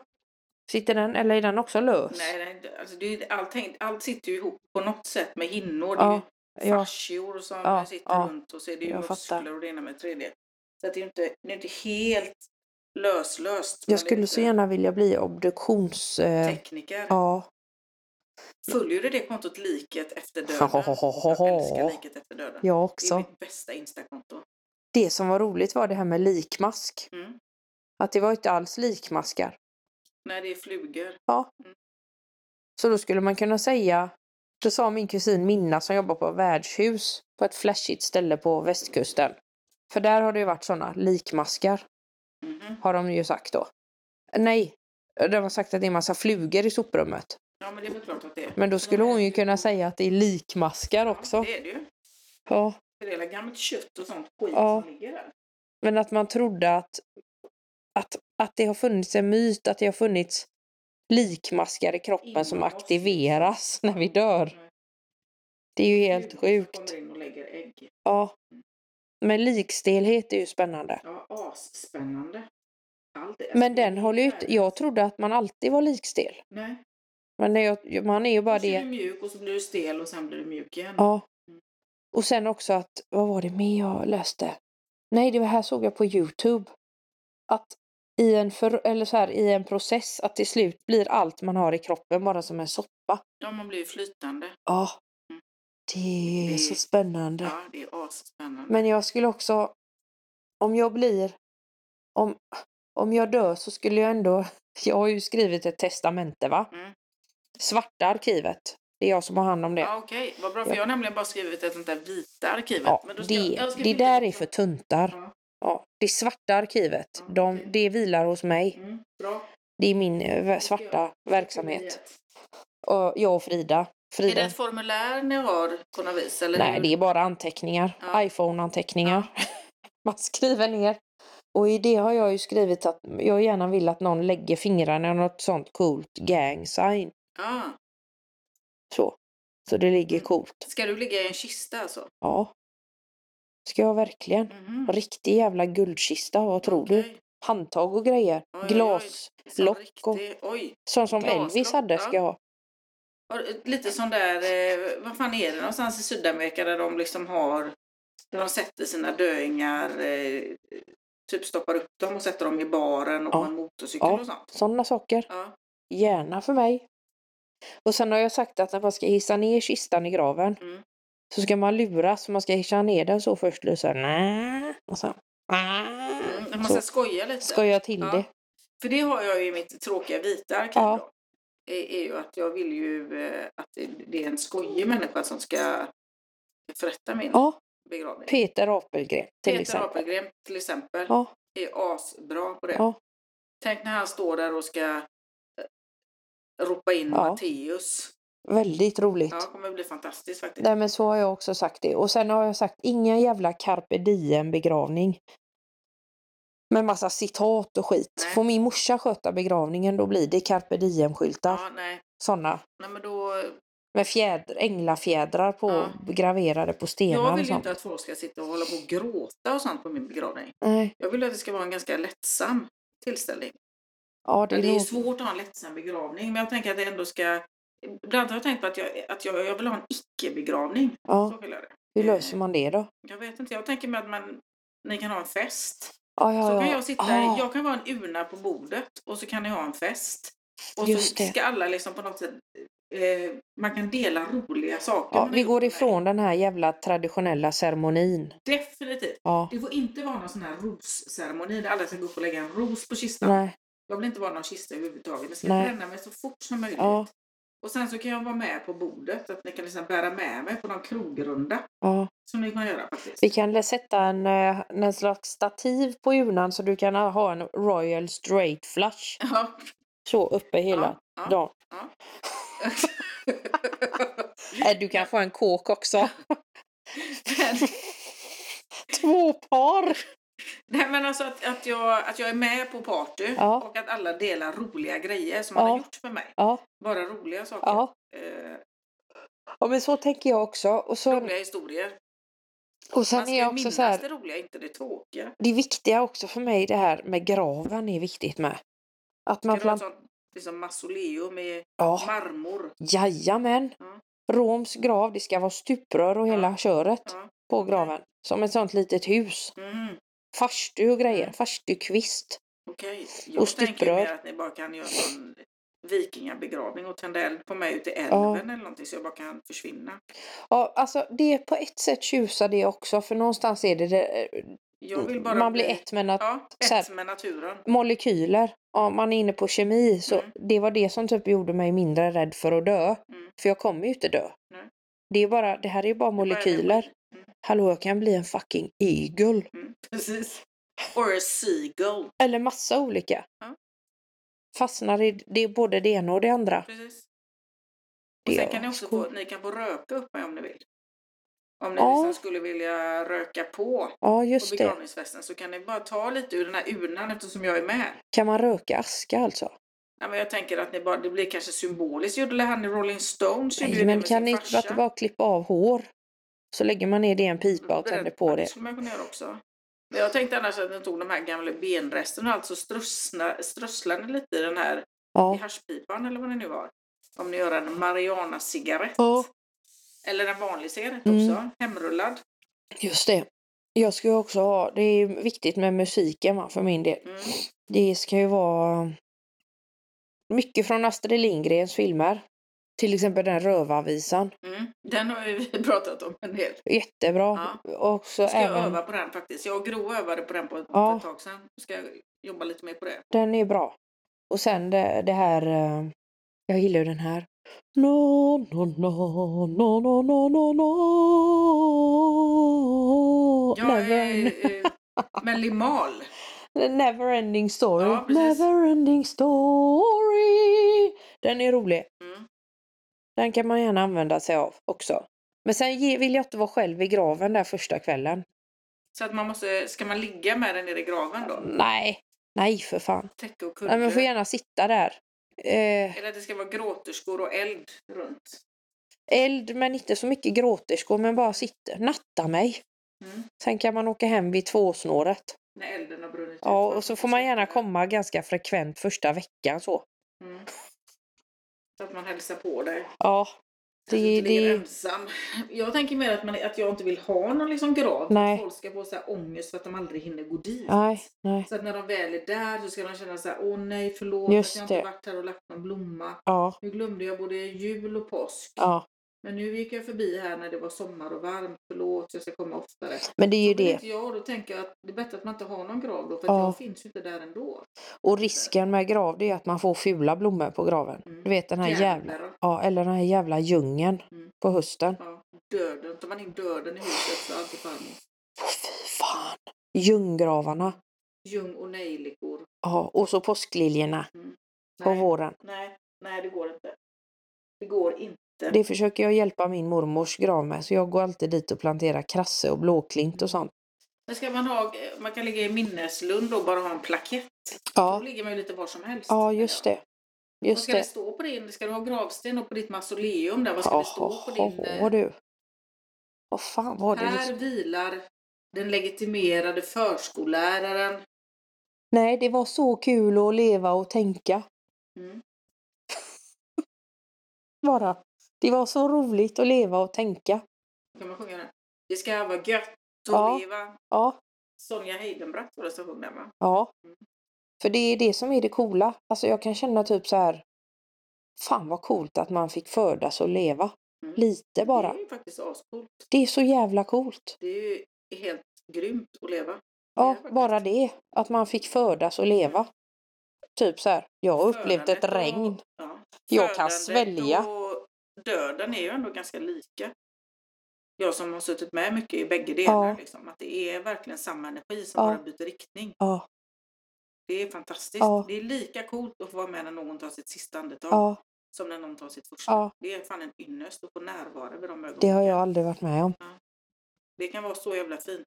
Sitter den, eller är den också lös?
Nej, det är inte- alltså det är, ju- allting, allt sitter ju ihop på något sätt med hinnor. Det är ju
Ja, ja.
fascior som
Ja,
sitter
ja.
runt och så är det ju
Jag
muskler
fattar.
och det ena med det tredje. Så att det är ju inte, det är inte helt löslöst. men
Jag
det är
skulle
inte
så gärna vilja bli obduktions... Eh,
Tekniker.
ja.
Följer du det kontot Liket efter döden? Jag älskar
Jag
Liket efter döden. Det är
också.
mitt bästa Instakonto.
Det som var roligt var det här med likmask.
Mm.
Att det var inte alls likmaskar.
När det är flugor.
Så då skulle man kunna säga, då sa min kusin Minna som jobbar på värdshus på ett flashigt ställe på västkusten. För där har det ju varit sådana likmaskar,
Mhm.
har de ju sagt då. Nej, de har sagt att det är en massa flugor i soprummet.
Ja, men det är väl klart att det är.
Men då skulle hon ju kunna säga att det är likmaskar
Ja,
också.
det är det ju.
Ja.
Det är hela gammalt kött och sånt skit
Ja.
som ligger där.
Men att man trodde att, att, att det har funnits en myt, att det har funnits likmaskar i kroppen som
Inom oss.
aktiveras när vi dör. Det är ju helt sjukt.
Kommer in och lägger ägg.
Ja. Men likstelhet är ju spännande.
Ja, asspännande. Allt är-
Men den håller ju inte... Jag trodde att man alltid var likstel.
Nej.
Men när jag, man är ju bara
och så är du
det...
mjuk och så blir du stel och sen blir du mjuk igen.
Ja. Och sen också att... Vad var det mer jag läste? Nej, det var här såg jag på Youtube. Att i en, för, eller så här, i en process att till slut blir allt man har i kroppen bara som en soppa.
Ja, man blir ju flytande.
Ja.
Mm.
Det är så
Det-
spännande.
Ja, det är asspännande.
Men jag skulle också, om jag blir, om, om jag dör så skulle jag ändå, jag har ju skrivit ett testamente va?
Mm.
Svarta arkivet, det är jag som har hand om det.
Ja, okej. Vad bra, för
Ja.
jag har nämligen bara skrivit ett sånt där vita arkivet.
Ja,
men då ska,
det,
jag ska
det
skicka
där
det.
är för tuntar.
Ja.
Ja. det svarta arkivet,
Ja,
de,
okej.
det vilar hos mig.
Mm, bra.
Det är min eh, vä- svarta verksamhet. Och jag och Frida.
Är det
Frida.
ett formulär ni har på något vis? Eller
Nej,
hur?
det är bara anteckningar.
Ja.
iPhone-anteckningar. Man skriver ner. Och i det har jag ju skrivit att jag gärna vill att någon lägger fingrarna i något sånt coolt gang-sign.
Ah,
Så. Så det ligger
Mm.
coolt.
ska du ligga i en kista alltså?
Ja. Ska jag verkligen?
Mhm.
Riktig jävla guldkista, vad tror du?
Okej.
Handtag och grejer.
Oj, oj,
Glas.
Som
Lock och-
riktig- Oj.
Sånt som
Glaslock,
Elvis hade ska
ja.
jag ha.
Har- Lite sån där, eh, vad fan är det någonstans i Sydamerika där de liksom har, där de sätter sina döingar, eh, typ stoppar upp dem och sätter dem i baren och
Ja.
på en motorcykel
Ja.
och sånt.
Sådana saker.
Ja.
Gärna för mig. Och sen har jag sagt att när man ska hissa ner kistan i graven
Mm.
så ska man luras. så Man ska hissa ner den så först. Och så här, "Nä." och sen,
Mm, man
så
ska skoja lite.
ska jag till
Ja.
det.
För det har jag ju i mitt tråkiga vita arkiv
Ja.
då. är är ju att jag vill ju eh, att det- det är en skojig människa som ska förrätta min
Ja,
begravning.
Peter Apelgren till exempel.
Apelgren till exempel
Ja.
är asbra på det.
Ja.
Tänk när han står där och ska eh, ropa in
Ja.
Matteus.
Väldigt roligt.
Ja, det kommer bli fantastiskt faktiskt.
Nej men så har jag också sagt det. Och sen har jag sagt inga jävla carpe diem begravning. Med massa citat och skit.
Nej.
Får min morsa sköta begravningen då blir det carpe diem skyltar.
Ja, nej.
Sådana.
nej men då,
Med fjädr, änglafjädrar på,
Ja.
graverade på
jag
stenar och
vill ju
sånt.
inte att folk ska sitta och hålla på och gråta och sånt på min begravning.
Nej.
Jag vill att det ska vara en ganska lättsam tillställning.
Ja, det,
Men det är
låter-
ju svårt att ha en lättsam begravning, men jag tänker att det ändå ska... Ibland har jag tänkt på att jag, att jag, jag vill ha en icke-begravning.
ja.
Så vill jag det.
Hur löser man det då?
Jag vet inte, jag tänker mig att man, ni kan ha en fest.
Ja, ja,
Så
ja.
kan jag sitta,
Ah,
jag kan vara en urna på bordet och så kan ni ha en fest. Och
Just
så
det.
ska alla liksom på något sätt, eh, man kan dela roliga saker.
ja,
man har
vi
gjort
går
med-
ifrån den här jävla traditionella ceremonin.
Definitivt.
Ja.
Det får inte vara någon sån här rosceremoni där alla ska gå upp och lägga en ros på kistan.
Nej.
Jag vill inte vara någon kista överhuvudtaget. Jag ska
Nej.
bränna mig så fort som möjligt.
Ja.
Och sen så kan jag vara med på bordet, att ni kan liksom bära med mig på någon krogrunda.
ja.
Som ni kan göra faktiskt.
Vi kan lä- sätta en, eh, en slags stativ på urnan så du kan ha en Royal Straight Flush
Ja,
så uppe hela
ja, ja.
dagen.
ja.
Eh, Du kan få en kåk också.
Men-
Två par!
Nej men alltså att, att, jag, att jag är med på party
Ja.
och att alla delar roliga grejer som
Ja.
man har gjort för mig.
Ja,
Bara roliga saker.
ja.
Eh,
ja men så tänker jag också. Och, så,
roliga historier.
och
Man
sen
ska
är
ju
jag också
minnas
så här,
det roliga, inte det tråkiga.
det viktiga också för mig det här med graven är viktigt med. Att man
Man plan...
planterar...
sånt, liksom mausoleum med
Ja,
marmor.
jajamän!
Ja.
Roms grav, det ska vara stuprör och hela
Ja.
köret
Ja.
på
Okej.
graven. Som ett sånt litet hus.
Mm,
Farstu och grejer,
Mm.
farstukvist.
okej.
Och
Jag tänker ju
stuprör.
mer att ni bara kan göra en vikingabegravning och tända eld på mig ute i älven eller någonting så jag bara kan försvinna.
Ja, alltså det är på ett sätt tjusar det också för någonstans är det, det
Jag vill bara
Mm. man blir
bli-
ett med nat-
Ja,
så här-
ett med naturen.
molekyler. Om man är inne på kemi så
Mm.
det var det som typ gjorde mig mindre rädd för att dö.
Mm.
För jag kommer ju inte dö.
Nej.
Det är bara, det här är ju bara molekyler.
Mm,
Hallå, jag kan bli en fucking eagle.
mm, precis. Or a seagull.
Eller massa olika.
Ja.
Fastnar i det är både det ena och det andra.
Precis. Och
Det
sen
är
kan ni också
skoj.
få, ni kan få röka upp mig om ni vill. Om ni
Ja.
liksom skulle vilja röka på
Ja,
på
just det.
begravningsfesten så kan ni bara ta lite ur den här urnan eftersom jag är med.
Kan man röka aska alltså?
Ja, men jag tänker att ni bara, det blir kanske symboliskt. Gjorde han i Rolling Stones? gjorde ju
Nej,
det
men
med
kan
sin
ni
farsa.
inte bara- bara klippa av hår? Så lägger man ner det i en pipa och tänder på
Mm, Det
det.
skulle man kunna göra också. Men jag tänkte annars att ni tog de här gamla benresterna och alltså strössna, strösslade ni lite i den här i
Ja.
haschpipan eller vad det nu var. Om ni gör en Mariana-cigarett.
Ja.
Eller en vanlig cigarett
Mm.
också. Hemrullad.
Just det. Jag ska ju också ha, det är ju viktigt med musiken va, för min del.
Mm.
Det ska ju vara mycket från Astrid Lindgrens filmer. Till exempel den rövarvisan.
Mm. Den har ju vi pratat om en del.
Jättebra. Och så
Ska jag
även,
öva på den faktiskt. Jag och Gro övade på den på ett,
Ja.
för ett tag sedan. Ska jag jobba lite mer på det.
den är bra. Och sen det, det här, eh, jag gillar ju den här. No, no, no, no, no, no, no, no.
Jag
Never, end,
är eh, men limal.
never ending story.
Ja, precis.
never ending story. Den är rolig.
Mm.
Den kan man gärna använda sig av också. Men sen ge- vill jag inte vara själv i graven där första kvällen.
Så att man måste, ska man ligga med den nere i graven då?
Nej, nej för fan.
Täcke och
Mm. Nej, men jag får
kudde.
gärna sitta där. Eh,
Eller att det ska vara gråterskor och eld runt.
eld men inte så mycket gråterskor men bara sitta. Natta mig.
Mm.
Sen kan man åka hem vid tvåsnåret.
När elden har brunnit ut.
Ja, och så får man gärna komma ganska frekvent första veckan så.
Mm. Så att man hälsar på dig.
Ja,
Det,
det,
inte ligger
det,
ensam. Jag tänker mer att, man, att jag inte vill ha någon liksom grav.
Nej.
Folk ska få så här ångest för att de aldrig hinner gå dit.
nej, nej.
Så att när de väl är där så ska de känna så här, åh nej förlåt
Just
att jag inte
det.
varit här och lagt någon blomma.
Ja,
Nu glömde jag både jul och påsk.
ja,
Men nu gick jag förbi här när det var sommar och varmt. Förlåt, jag ska komma oftare.
Men det är ju
Men
det.
inte jag, och då tänker jag att det är bättre att man inte har någon grav då, för
Ja.
att jag finns ju inte där ändå.
Och risken med grav det är att man får fula blommor på graven.
Mm.
Du vet den här jävla,
Jävlar,
ja, eller den här jävla djungeln
Mm.
på hösten.
Ja, döden. Tar man in döden i huset så är alltid farmor.
Åh, fy fan! Ljunggravarna.
Ljung och nejlikor. Mm.
Ja, och så påskliljorna på
Nej,
våren.
nej, nej, det går inte. Det går inte.
Det försöker jag hjälpa min mormors grav med så jag går alltid dit och planterar krasse och blåklint och sånt.
Men ska man ha, eh, man kan ligga i minneslund och bara ha en plakett. Då
Ja,
ligger man ju lite var som helst.
ja just det.
Vad
Just
ska det
det.
stå på din? Ska du ha gravsten och på ditt mausoleum där? Vad ska det stå på din? eh,
Jaha du. Vad fan var det?
Här
du-
vilar den legitimerade förskolläraren.
Nej, det var så kul att leva och tänka.
Mm.
Bara. Det var så roligt att leva och tänka.
Kan man sjunga den? Det ska vara gött att
Ja.
leva.
Ja,
Sonja Heidenbratt var det som sjöng den va?
ja. För det är det som är det coola. Alltså jag kan känna typ så här. Fan vad coolt att man fick födas och leva.
Mm.
Lite bara.
Det är ju faktiskt ascoolt.
Det är så jävla coolt.
Det är ju helt grymt att leva.
Ja,
faktiskt.
bara det. Att man fick födas och leva. Typ så här, jag har upplevt ett
Födandet och-
regn.
Ja.
Jag kan
Födandet
svälja.
Och döden är ju ändå ganska lika. Jag som har suttit med mycket i bägge
Ja.
delar. Liksom, att det är verkligen samma energi som
Ja.
bara byter riktning.
Ja,
Det är fantastiskt.
Ja.
Det är lika coolt att få vara med när någon tar sitt sista andetag
ja,
som när någon tar sitt första.
Ja.
Det är fan en ynnest att få närvara vid de ögonen.
det har jag aldrig varit med om.
Det kan vara så jävla fint.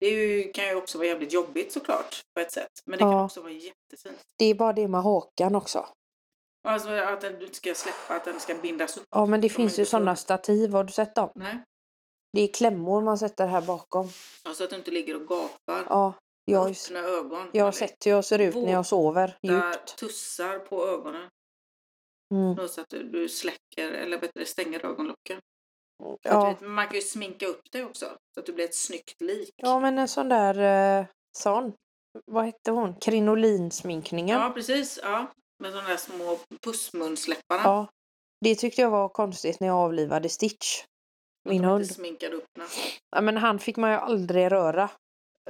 Det är ju, kan ju också vara jävligt jobbigt såklart på ett sätt. Men det
Ja.
kan också vara jättefint.
Det är bara det med hakan också.
Alltså att den inte ska släppa, att den ska bindas upp.
Ja, men det
Som
finns
inte
ju
så-
sådana stativ. Har du sett dem?
Nej.
Det är klämmor man sätter här bakom.
Ja, så Alltså, att du inte ligger och gapar.
Ja, jag, har ju-
Öppna ögon.
jag har
Man
sett hur jag ser ut när jag sover
letar
djupt.
tussar på ögonen.
Mm.
Så att du- du släcker, eller bättre stänger ögonlocken. För att du
Ja.
vet, Man kan ju sminka upp dig också. Så att du blir ett snyggt lik.
ja, men en sån där eh, sån. Vad hette hon? Krinolinsminkningen.
Ja, precis. Ja. Med de där små pussmunsläpparna.
Ja. Det tyckte jag var konstigt när jag avlivade Stitch. Min
de
hund.
inte sminkade upp när.
Ja, men han fick man ju aldrig röra.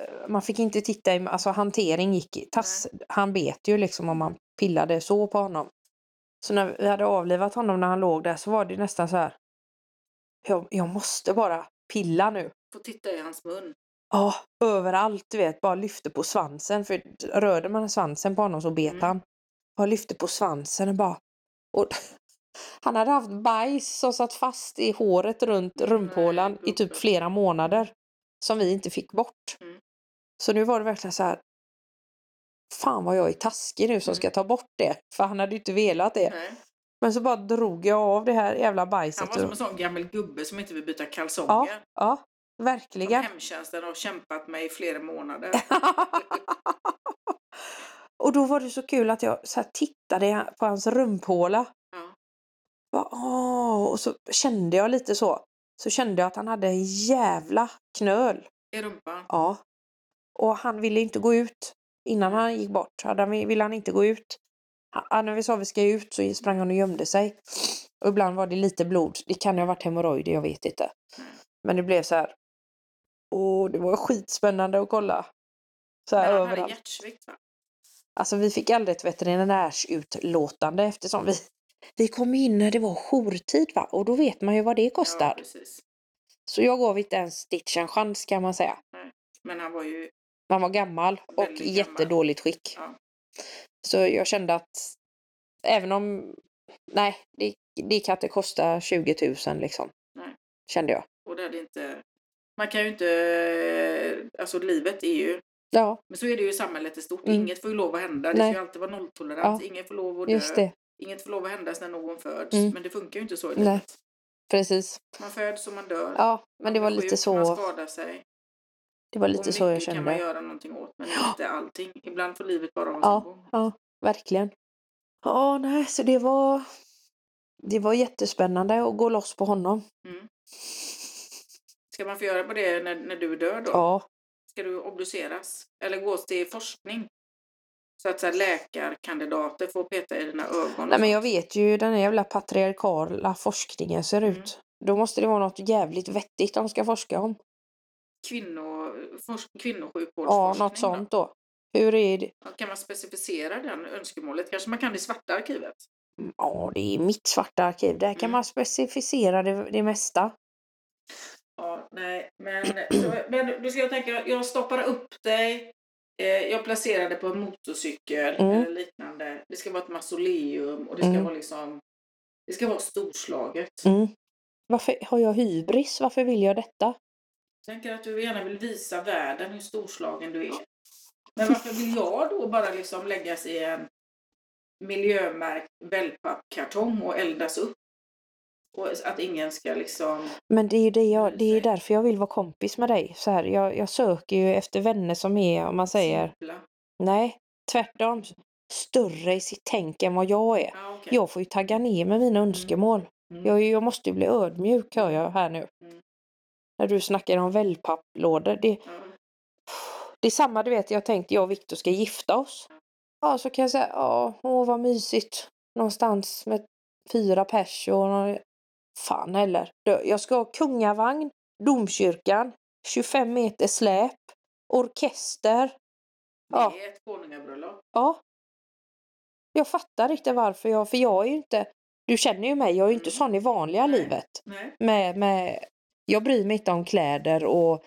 Eh, Man fick inte titta i, alltså hantering gick i tass. Han bet ju liksom om man pillade så på honom. Så när vi hade avlivat honom när han låg där så var det nästan så här. Jag, jag måste bara pilla nu.
Få titta i hans mun.
Ja, överallt du vet. Bara lyfte på svansen. För rörde man svansen på honom så bet
Mm.
han. Bara lyfte på svansen och bara. Och han hade haft bajs som satt fast i håret runt rumphålan
Nej,
i typ
gubben.
flera månader. Som vi inte fick bort.
Mm.
Så nu var det verkligen så här. Fan vad jag är taskig nu som
Mm.
ska ta bort det. För han hade ju inte velat det.
Nej.
Men så bara drog jag av det här jävla bajset.
Han var som
och-
en sån gammal gubbe som inte vill byta kalsonger.
Ja, ja,
Som
verkligen.
hemtjänsten har kämpat med i flera månader.
och då var det så kul att jag så här tittade på hans rumphåla.
Ja.
Bara, åh, och så kände jag lite så. Så kände jag att han hade en jävla knöl.
I rumpan.
Ja. Och han ville inte gå ut. Innan han gick bort hade han, ville han inte gå ut. Han, när vi sa vi ska ut så sprang han och gömde sig. Och ibland var det lite blod. Det kan ju ha varit hemorrojder, jag vet inte. Men det blev så här. Åh, det var skitspännande att kolla. Så här
Men han hade
överallt.
hjärtsvikt va?
Alltså vi fick aldrig ett veterinärsutlåtande eftersom vi, vi kom in när det var jourtid va? och då vet man ju vad det
Ja,
kostar.
precis.
Så jag gav inte ens Stitch en chans kan man säga.
Men han var ju...
Man var gammal och
Väldigt
i
gammal.
jättedåligt skick.
Ja.
Så jag kände att även om, nej det, det kan inte kosta 20 000 liksom.
Nej.
Kände jag.
Och det hade inte... Man kan ju inte... Alltså livet är ju...
Ja,
Men så är det ju i samhället i stort.
Mm.
Inget får ju lov att hända. Det
Nej.
ska ju alltid vara nolltolerans. Ingen får lov att dö.
just det.
Inget får lov att hända när någon föds.
Mm.
Men det funkar ju inte så i
Nej.
livet.
Precis.
Man föds och man dör.
Ja, men det
Man
var
blir
lite
sjuk, Man
så,
skadar sig.
det var
och
lite
mycket
så jag
kan man
kände.
göra någonting åt, men inte allting. Ibland får livet bara ha sin
Ja.
gång.
Verkligen. Ja, nej, så det var... Det var jättespännande att gå loss på honom.
Ska man få göra på det när, när du dör då?
Ja,
Ska du obduceras? Eller gå till forskning? Så att så här, läkarkandidater får peta i dina ögon? och
nej men jag
sånt.
vet ju hur den här jävla patriarkala forskningen ser
Mm.
ut. Då måste det vara något jävligt vettigt de ska forska om.
Kvinno, forsk-
Ja,
kvinnosjukvårdsforskning.
något
då?
sånt då. Hur är det?
Ja, Kan man specificera den önskemålet? Kanske man kan det i svarta arkivet?
Ja, det är mitt svarta arkiv. Där kan
Mm.
man specificera det, det mesta.
Ja, nej, men, men du ska jag tänka, jag stoppar upp dig. Eh, jag placerar dig på en motorcykel
Mm.
eller liknande. Det ska vara ett mausoleum och det ska
Mm.
vara liksom, det ska vara storslaget.
Mm. Varför har jag hybris? Varför vill jag detta?
Jag tänker att du gärna vill visa världen hur storslagen du är. Men varför vill jag då bara liksom läggas i en miljömärkt wellpappkartong och eldas upp? Och att ingen ska liksom...
Men det är ju det jag, det är ju
Precis.
därför jag vill vara kompis med dig. Så här, jag, jag söker ju efter vänner som är, om man säger,
Simpla.
nej, tvärtom, större i sitt tänk än vad jag är.
Ja, okej.
Jag får ju tagga ner med mina önskemål.
Mm.
Jag, jag måste ju bli ödmjuk hör jag här nu.
Mm.
När du snackar om wellpapplådor. Det,
Ja.
det är samma du vet, jag tänkte jag och Viktor ska gifta oss. Ja, så kan jag säga, ja, åh vad mysigt. Någonstans med fyra pers och någon... Fan heller. Du, Jag ska ha kungavagn, domkyrkan, 25 meter släp, orkester. Ja.
Det är ett konungabröllop.
Ja. Jag fattar inte varför jag, för jag är ju inte, du känner ju mig, jag är ju inte
Mm.
sån i vanliga
Nej.
livet.
Nej.
Med, med, jag bryr mig inte om kläder och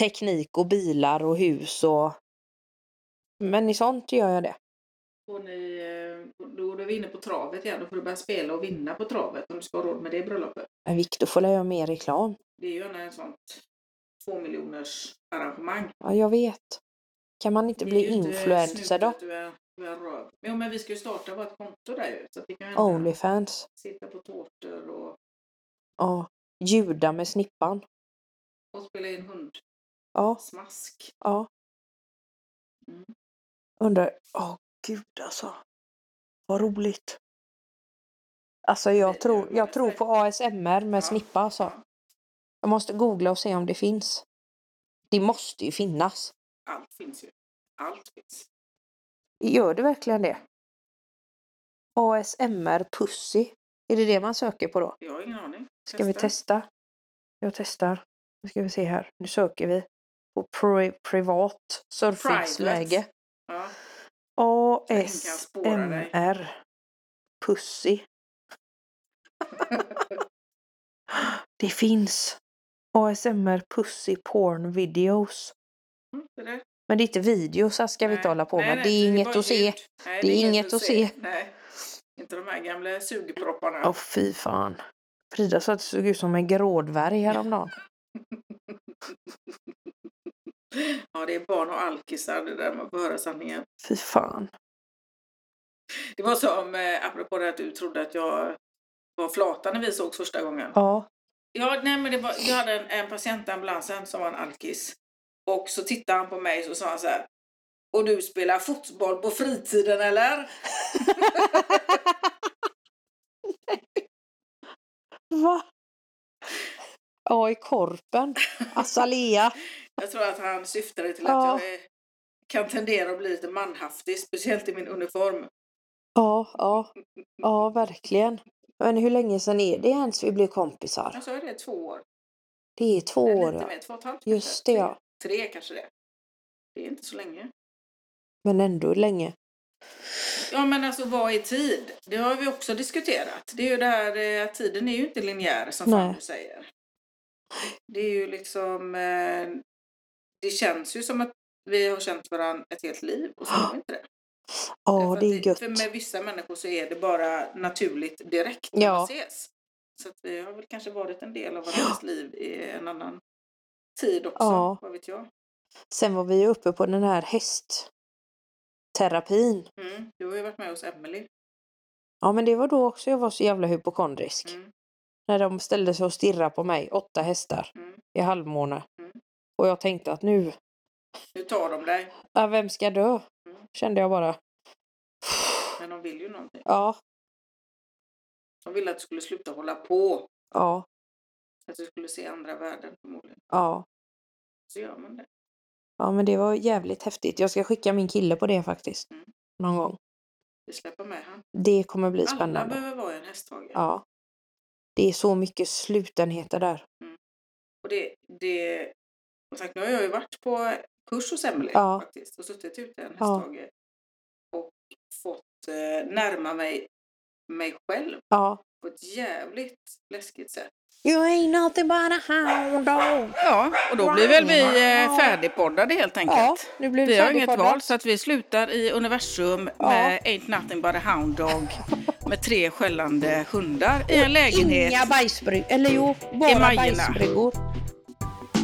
teknik och bilar och hus och... Men i sånt gör jag det.
Och ni, eh, då då är vi inne på travet igen. Då får du börja spela och vinna på travet om du ska ha råd med det bröllopet.
Men Viktor får jag göra mer reklam.
Det är ju gärna en sånt två miljoners arrangemang.
Ja, jag vet. Kan man inte
Det är
bli
ju inte
influencer
snyggt
då?
att Du är, du är röv. Jo, men vi ska ju starta vårt konto där ju. Så att vi kan
Oh,
ju ändå
Onlyfans.
sitta på tårtor och,
Ja. Juda med snippan.
och spela in hundsmask.
Ja, ja.
Mm.
Undrar... Åh gud alltså. Vad roligt. Alltså jag
Det-
tror,
det-
jag tror på ASMR med
Ja.
snippa alltså. Jag måste googla och se om det finns. Det måste ju finnas.
Allt finns ju. Allt finns.
Gör det verkligen det? ASMR pussy. Är det det man söker på då?
Jag har ingen aning.
Ska vi testa? Jag testar. Nu ska vi se här. Nu söker vi på pri- privat surfingsläge.
Private. Ja. ingen kan spåra dig.
ASMR pussy. det finns ASMR pussy porn videos.
Mm, det där.
Men det är inte videos här ska vi inte
Nej.
hålla på
Nej,
med.
nej,
det är inget
bara
att se.
ljud. Nej,
Det är inget att se. Oh.
Nej. Inte de här gamla sugpropparna.
Åh fy fan. Frida sa att det såg ut som en grådvärg häromdagen.
Ja, det är barn och alkisar det där man får höra sanningen.
Fy fan.
Det var som, eh, apropå det att du trodde att jag var flata när vi sågs första gången.
Ja.
Ja, nej, men det var, jag hade en, en patient i ambulansen som var en alkis. Och så tittade han på mig så sa han så här. Och du spelar fotboll på fritiden eller?
Va? Ja, i korpen. Azalea.
Jag tror att han syftade till
Ja.
att jag eh, kan tendera att bli lite manhaftig, speciellt i min uniform.
Ja, ja. Ja, verkligen. Men hur länge sedan är det ens vi blev kompisar?
Jag sa ju det, två år.
Det är två
Eller
år,
lite
ja.
mer, två och ett halvt
Just det,
kanske.
ja.
Tre, tre kanske det. Det är inte så länge.
Men ändå länge.
Ja men alltså vad är tid? Det har vi också diskuterat. Det är ju det här eh, att tiden är ju inte linjär som
Nej.
Fanny säger. Det är ju liksom, eh, det känns ju som att vi har känt varandra ett helt liv och så har vi inte det. Därför
Ja,
att
det är
För
gött.
med vissa människor så är det bara naturligt direkt när
Ja.
man ses. Så att vi har väl kanske varit en del av varandras liv i en annan tid också,
Ja.
vad vet jag.
Sen var vi ju uppe på den här hästterapin.
Mm. Du har ju varit med hos Emelie.
Ja, men det var då också jag var så jävla hypokondrisk.
Mm.
När de ställde sig och stirrade på mig, åtta hästar
Mm.
i halvmåne.
Mm.
Och jag tänkte att nu,
Nu tar de dig,
ja, vem ska dö?
Mm.
Kände jag bara.
men de vill ju någonting.
Ja,
De ville att du skulle sluta hålla på.
ja,
Att du skulle se andra värden förmodligen.
ja.
Så gör man det.
Ja, men det var jävligt häftigt. Jag ska skicka min kille på det faktiskt.
Mm.
Någon gång.
Vi släpper med han.
Det kommer bli
Alla
spännande.
behöver vara i en hästhage.
Ja. Det är så mycket slutenheter där.
Och det, det, som sagt, nu har jag ju varit på kurs hos Emelie
Ja.
faktiskt och suttit ute en
Ja.
hästhage och fått eh, närma mig mig själv
Ja.
på ett jävligt läskigt sätt.
You ain't nothing but a hound dog.
Ja, och då blir väl vi eh, färdigpoddade helt
Ja,
enkelt.
nu blir det
Vi har inget
färdigpoddat.
val så att vi slutar i universum
Ja.
med Ain't nothing but a hound dog med tre skällande hundar i en lägenhet.
Inga bajsbryggor. Eller jo,
I
bara
Majorna.
bajsbryggor.